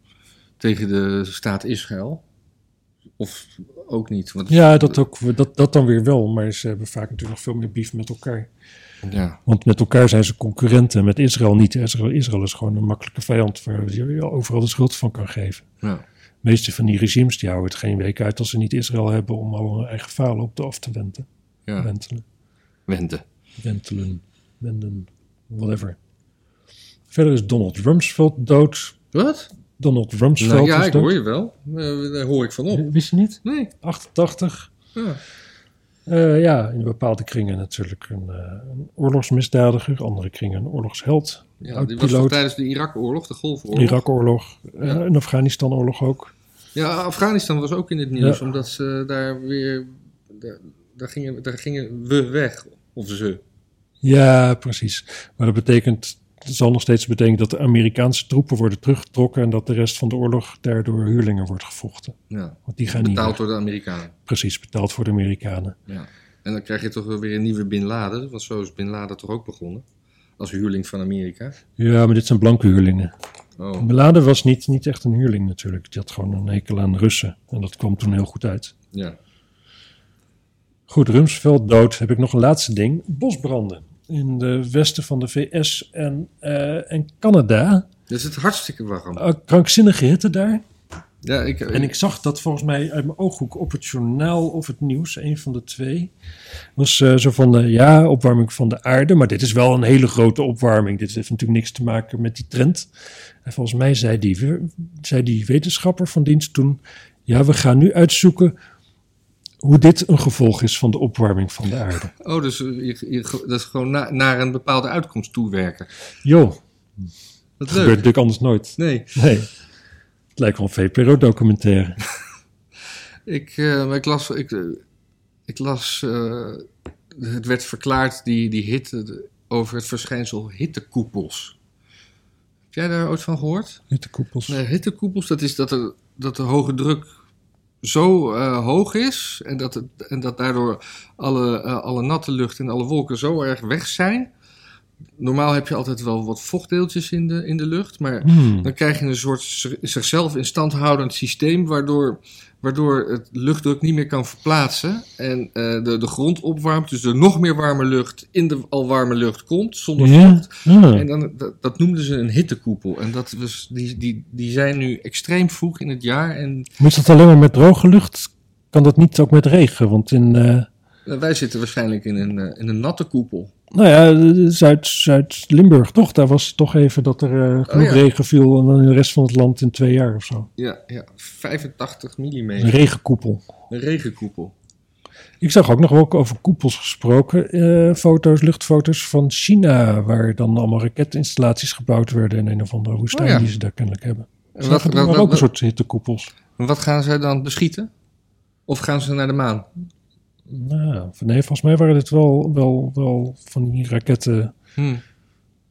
Speaker 2: tegen de staat Israël? Of ook niet? Want,
Speaker 1: Ja, dat, ook, dat, dat dan weer wel. Maar ze hebben vaak natuurlijk nog veel meer beef met elkaar.
Speaker 2: ja.
Speaker 1: Want met elkaar zijn ze concurrenten. Met Israël niet. Israël, Israël is gewoon een makkelijke vijand waar je overal de schuld van kan geven.
Speaker 2: ja.
Speaker 1: De meeste van die regimes die houden het geen week uit als ze niet Israël hebben om al hun eigen falen op de af te wenden.
Speaker 2: ja.
Speaker 1: Wentelen.
Speaker 2: Wende.
Speaker 1: Wentelen. Wenden. Whatever. Verder is Donald Rumsfeld dood.
Speaker 2: Wat?
Speaker 1: Donald Rumsfeld
Speaker 2: Nou, ja,
Speaker 1: is
Speaker 2: ik
Speaker 1: dood.
Speaker 2: hoor je wel. Eh, Daar hoor ik van op.
Speaker 1: Wist je niet?
Speaker 2: Nee.
Speaker 1: 88.
Speaker 2: Ja.
Speaker 1: Eh, ja, in bepaalde kringen natuurlijk een, eh, een oorlogsmisdadiger, andere kringen een oorlogsheld.
Speaker 2: Ja,
Speaker 1: Ook
Speaker 2: die was toch
Speaker 1: piloot.
Speaker 2: tijdens de Irak-oorlog, de Golfoorlog.
Speaker 1: Irak-oorlog, eh, een Afghanistan-oorlog ook.
Speaker 2: Ja, Afghanistan was ook in het nieuws,
Speaker 1: Ja.
Speaker 2: omdat ze daar weer... Daar, daar, gingen, daar gingen we weg, of ze.
Speaker 1: Ja, precies. Maar dat betekent, het zal nog steeds betekenen dat de Amerikaanse troepen worden teruggetrokken en dat de rest van de oorlog daardoor huurlingen wordt gevochten.
Speaker 2: Ja.
Speaker 1: Want die gaan niet
Speaker 2: Betaald
Speaker 1: weg.
Speaker 2: door de Amerikanen.
Speaker 1: precies betaald voor de Amerikanen.
Speaker 2: Ja. En dan krijg je toch wel weer een nieuwe Bin Laden, want zo is Bin Laden toch ook begonnen. Als huurling van Amerika.
Speaker 1: Ja, maar dit zijn blanke huurlingen.
Speaker 2: Oh,
Speaker 1: Beladen was niet, niet echt een huurling natuurlijk. Die had gewoon een hekel aan Russen. En dat kwam toen heel goed uit.
Speaker 2: ja.
Speaker 1: Goed, Rumsfeld dood. Heb ik nog een laatste ding. Bosbranden in de westen van de VS en, eh, en Canada.
Speaker 2: Dus het hartstikke warm.
Speaker 1: Eh, krankzinnige hitte daar.
Speaker 2: Ja, ik,
Speaker 1: En ik zag dat volgens mij uit mijn ooghoek op het journaal of het nieuws, een van de twee. Was eh, zo van, eh, ja, opwarming van de aarde. Maar dit is wel een hele grote opwarming. Dit heeft natuurlijk niks te maken met die trend. En volgens mij zei die, zei die wetenschapper van dienst toen... Ja, we gaan nu uitzoeken hoe dit een gevolg is van de opwarming van de aarde.
Speaker 2: Oh, dus eh, je, je- dat is gewoon na- naar een bepaalde uitkomst toewerken.
Speaker 1: Joh,
Speaker 2: Wat
Speaker 1: Dat gebeurt
Speaker 2: leuk.
Speaker 1: natuurlijk anders nooit.
Speaker 2: Nee.
Speaker 1: Nee. Het lijkt wel een VPRO-documentaire.
Speaker 2: Ik, eh, maar ik las, ik, eh, ik las eh, het werd verklaard, die, die hitte, de- over het verschijnsel hittekoepels. Heb jij daar ooit van gehoord?
Speaker 1: Met de koepels.
Speaker 2: Nee, hittekoepels, dat is dat, er, dat de hoge druk zo eh, hoog is en dat, het, en dat daardoor alle, eh, alle natte lucht en alle wolken zo erg weg zijn. Normaal heb je altijd wel wat vochtdeeltjes in de, in de lucht, maar
Speaker 1: Hmm.
Speaker 2: dan krijg je een soort z- zichzelf in stand houdend systeem, waardoor, waardoor het luchtdruk niet meer kan verplaatsen. En eh, de, de grond opwarmt, dus er nog meer warme lucht in de al warme lucht komt, zonder
Speaker 1: Ja?
Speaker 2: vocht.
Speaker 1: Ah.
Speaker 2: En dan, dat, dat noemden ze een hittekoepel. En dat was, die, die, die zijn nu extreem vroeg in het jaar. En
Speaker 1: Moet dat alleen maar met droge lucht? Kan dat niet ook met regen? Want in, eh,
Speaker 2: eh, wij zitten waarschijnlijk in een, eh, in een natte koepel.
Speaker 1: nou ja, eh, Zuid- Zuid-Limburg toch? Daar was het toch even dat er eh, genoeg
Speaker 2: Oh ja.
Speaker 1: regen viel en dan in de rest van het land in twee jaar of zo.
Speaker 2: Ja, ja 85 mm.
Speaker 1: Een regenkoepel.
Speaker 2: Een regenkoepel.
Speaker 1: Ik zag ook nog wel over koepels gesproken. eh, foto's, luchtfoto's van China, waar dan allemaal raketinstallaties gebouwd werden in een of andere woestijn
Speaker 2: Oh ja.
Speaker 1: die ze daar kennelijk hebben.
Speaker 2: En
Speaker 1: Ze
Speaker 2: wat,
Speaker 1: hadden
Speaker 2: wat,
Speaker 1: daar
Speaker 2: wat,
Speaker 1: ook een
Speaker 2: wat,
Speaker 1: soort hittekoepels.
Speaker 2: wat gaan zij dan beschieten? Of gaan ze naar de maan?
Speaker 1: Nou, nee, volgens mij waren dit wel, wel, wel van die raketten
Speaker 2: Hm.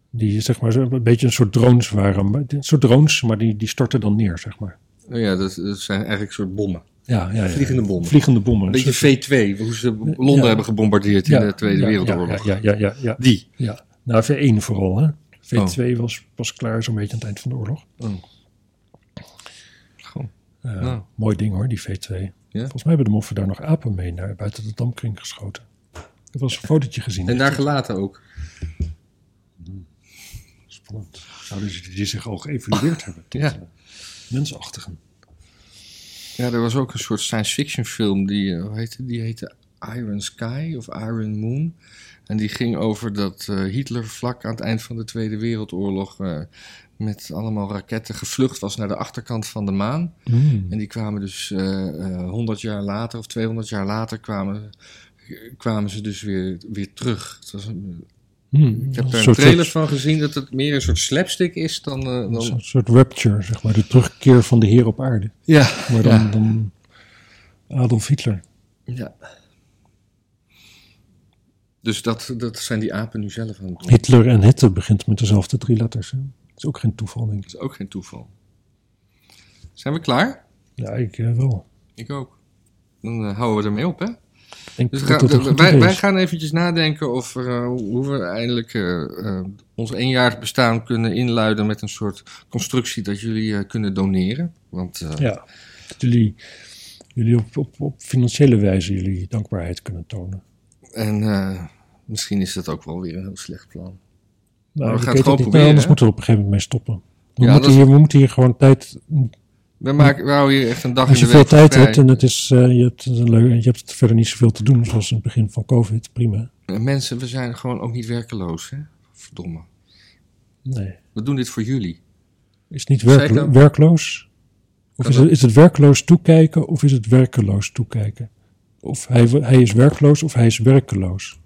Speaker 1: Die zeg maar zo- een beetje een soort drones waren. maar- Een soort drones, maar die, die storten dan neer, zeg maar.
Speaker 2: Nou Ja, dat, dat zijn eigenlijk soort bommen.
Speaker 1: Ja, ja, ja.
Speaker 2: Vliegende bommen.
Speaker 1: Vliegende bommen.
Speaker 2: Een beetje
Speaker 1: Zo-
Speaker 2: V2, hoe ze Londen
Speaker 1: Ja.
Speaker 2: hebben gebombardeerd in
Speaker 1: ja,
Speaker 2: de Tweede
Speaker 1: ja,
Speaker 2: Wereldoorlog.
Speaker 1: Ja, ja, ja, ja, ja,
Speaker 2: Die.
Speaker 1: ja. Nou, V1 vooral, hè.
Speaker 2: Oh.
Speaker 1: V2 was pas klaar zo'n beetje aan het eind van de oorlog.
Speaker 2: Goh.
Speaker 1: Eh,
Speaker 2: Nou.
Speaker 1: Mooi ding hoor, die V2.
Speaker 2: Ja.
Speaker 1: Volgens mij hebben de moffen daar nog apen mee naar buiten de damkring geschoten. Ik heb wel eens een fotootje gezien.
Speaker 2: En daar gelaten ook.
Speaker 1: Spannend. Zouden ze die zich al geëvalueerd hebben? tot,
Speaker 2: Ja.
Speaker 1: eh, Mensachtigen.
Speaker 2: Ja, er was ook een soort science fiction film die, eh, hoe heette, die heette Iron Sky of Iron Moon. En die ging over dat eh, Hitler vlak aan het eind van de Tweede Wereldoorlog eh, met allemaal raketten gevlucht was naar de achterkant van de maan. En die kwamen dus eh, eh, 100 jaar later of 200 jaar later kwamen, kwamen ze dus weer, weer terug. Het was een,
Speaker 1: Hmm.
Speaker 2: ik heb daar een
Speaker 1: soort-
Speaker 2: trailer van gezien dat het meer een soort slapstick is dan... eh,
Speaker 1: Een
Speaker 2: dan
Speaker 1: soort, soort rapture, zeg maar. De terugkeer van de Heer op aarde.
Speaker 2: ja,
Speaker 1: Maar dan,
Speaker 2: Ja.
Speaker 1: dan Adolf Hitler.
Speaker 2: Ja. Dus dat, dat zijn die apen nu zelf aan het doen.
Speaker 1: Hitler en Hitte begint met dezelfde drie letters. Hè? Dat is ook geen toeval, denk ik.
Speaker 2: Dat is ook geen toeval. Zijn we klaar?
Speaker 1: Ja, ik eh, wel.
Speaker 2: Ik ook. Dan eh, houden we ermee op, hè?
Speaker 1: Ik denk
Speaker 2: Dus
Speaker 1: dat
Speaker 2: ga-
Speaker 1: dat een goed
Speaker 2: wij,
Speaker 1: idee
Speaker 2: wij
Speaker 1: is.
Speaker 2: gaan eventjes nadenken of eh, hoe we eindelijk eh, eh, ons eenjarig bestaan kunnen inluiden met een soort constructie dat jullie eh, kunnen doneren. Want eh,
Speaker 1: Ja, dat jullie, jullie op, op, op financiële wijze jullie dankbaarheid kunnen tonen.
Speaker 2: en, eh, misschien is dat ook wel weer een heel slecht plan.
Speaker 1: Nou, ik
Speaker 2: we gaan
Speaker 1: weet
Speaker 2: het gewoon
Speaker 1: niet, maar
Speaker 2: proberen,
Speaker 1: Anders
Speaker 2: hè?
Speaker 1: moeten we er op een gegeven moment mee stoppen. We,
Speaker 2: Ja,
Speaker 1: moeten,
Speaker 2: dat is-
Speaker 1: hier, we moeten hier gewoon tijd...
Speaker 2: We, maken, we houden hier echt een dag
Speaker 1: Als je
Speaker 2: in de
Speaker 1: veel
Speaker 2: week
Speaker 1: tijd
Speaker 2: vrij.
Speaker 1: hebt en het is, eh, je, hebt een leu- je hebt verder niet zoveel te doen, zoals in het begin van COVID, prima.
Speaker 2: En Mensen, we zijn gewoon ook niet werkeloos, hè? Verdomme.
Speaker 1: Nee,
Speaker 2: We doen dit voor jullie.
Speaker 1: is niet
Speaker 2: Zeker.
Speaker 1: werkelo- werkloos. Of
Speaker 2: Kan
Speaker 1: is het, is het werkloos toekijken of is het werkeloos toekijken? Of hij, hij is werkloos of hij is werkeloos.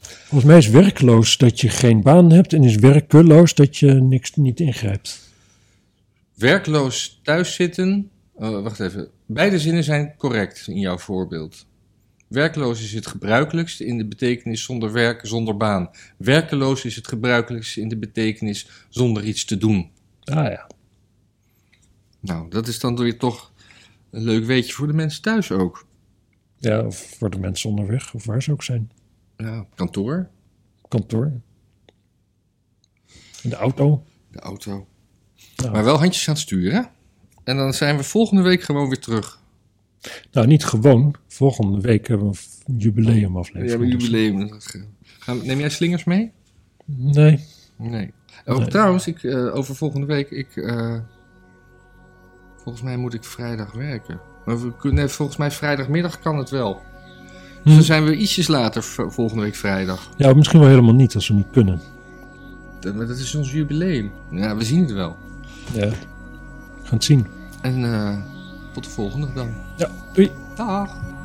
Speaker 1: Volgens mij is werkloos dat je geen baan hebt en is werkeloos dat je niks niet ingrijpt.
Speaker 2: Werkloos thuiszitten. eh, wacht even. Beide zinnen zijn correct in jouw voorbeeld. Werkloos is het gebruikelijkst in de betekenis zonder werk, zonder baan. Werkeloos is het gebruikelijkst in de betekenis zonder iets te doen.
Speaker 1: Ah ja.
Speaker 2: Nou, dat is dan weer toch een leuk weetje voor de mensen thuis ook.
Speaker 1: Ja, of voor de mensen onderweg of waar ze ook zijn.
Speaker 2: Ja, op kantoor,
Speaker 1: Kantoor. In de auto.
Speaker 2: de auto.
Speaker 1: Nou.
Speaker 2: Maar wel handjes aan het sturen. En dan zijn we volgende week gewoon weer terug.
Speaker 1: Nou, niet gewoon. Volgende week hebben we een
Speaker 2: We
Speaker 1: jubileumaflevering.
Speaker 2: hebben een jubileum. Dat ge- Gaan we- Neem jij slingers mee?
Speaker 1: Nee.
Speaker 2: Nee. Oh,
Speaker 1: Nee.
Speaker 2: Trouwens, ik, eh, over volgende week, ik, eh, volgens mij moet ik vrijdag werken. Maar we kunnen, nee, volgens mij vrijdagmiddag kan het wel. Dus dan zijn we ietsjes later v- volgende week vrijdag.
Speaker 1: Ja, misschien wel helemaal niet als we niet kunnen.
Speaker 2: Dat, maar dat is ons jubileum. Ja, we zien het wel.
Speaker 1: Ja. Gaan het zien.
Speaker 2: En eh, tot de volgende dan.
Speaker 1: Ja, doei.
Speaker 2: Dag.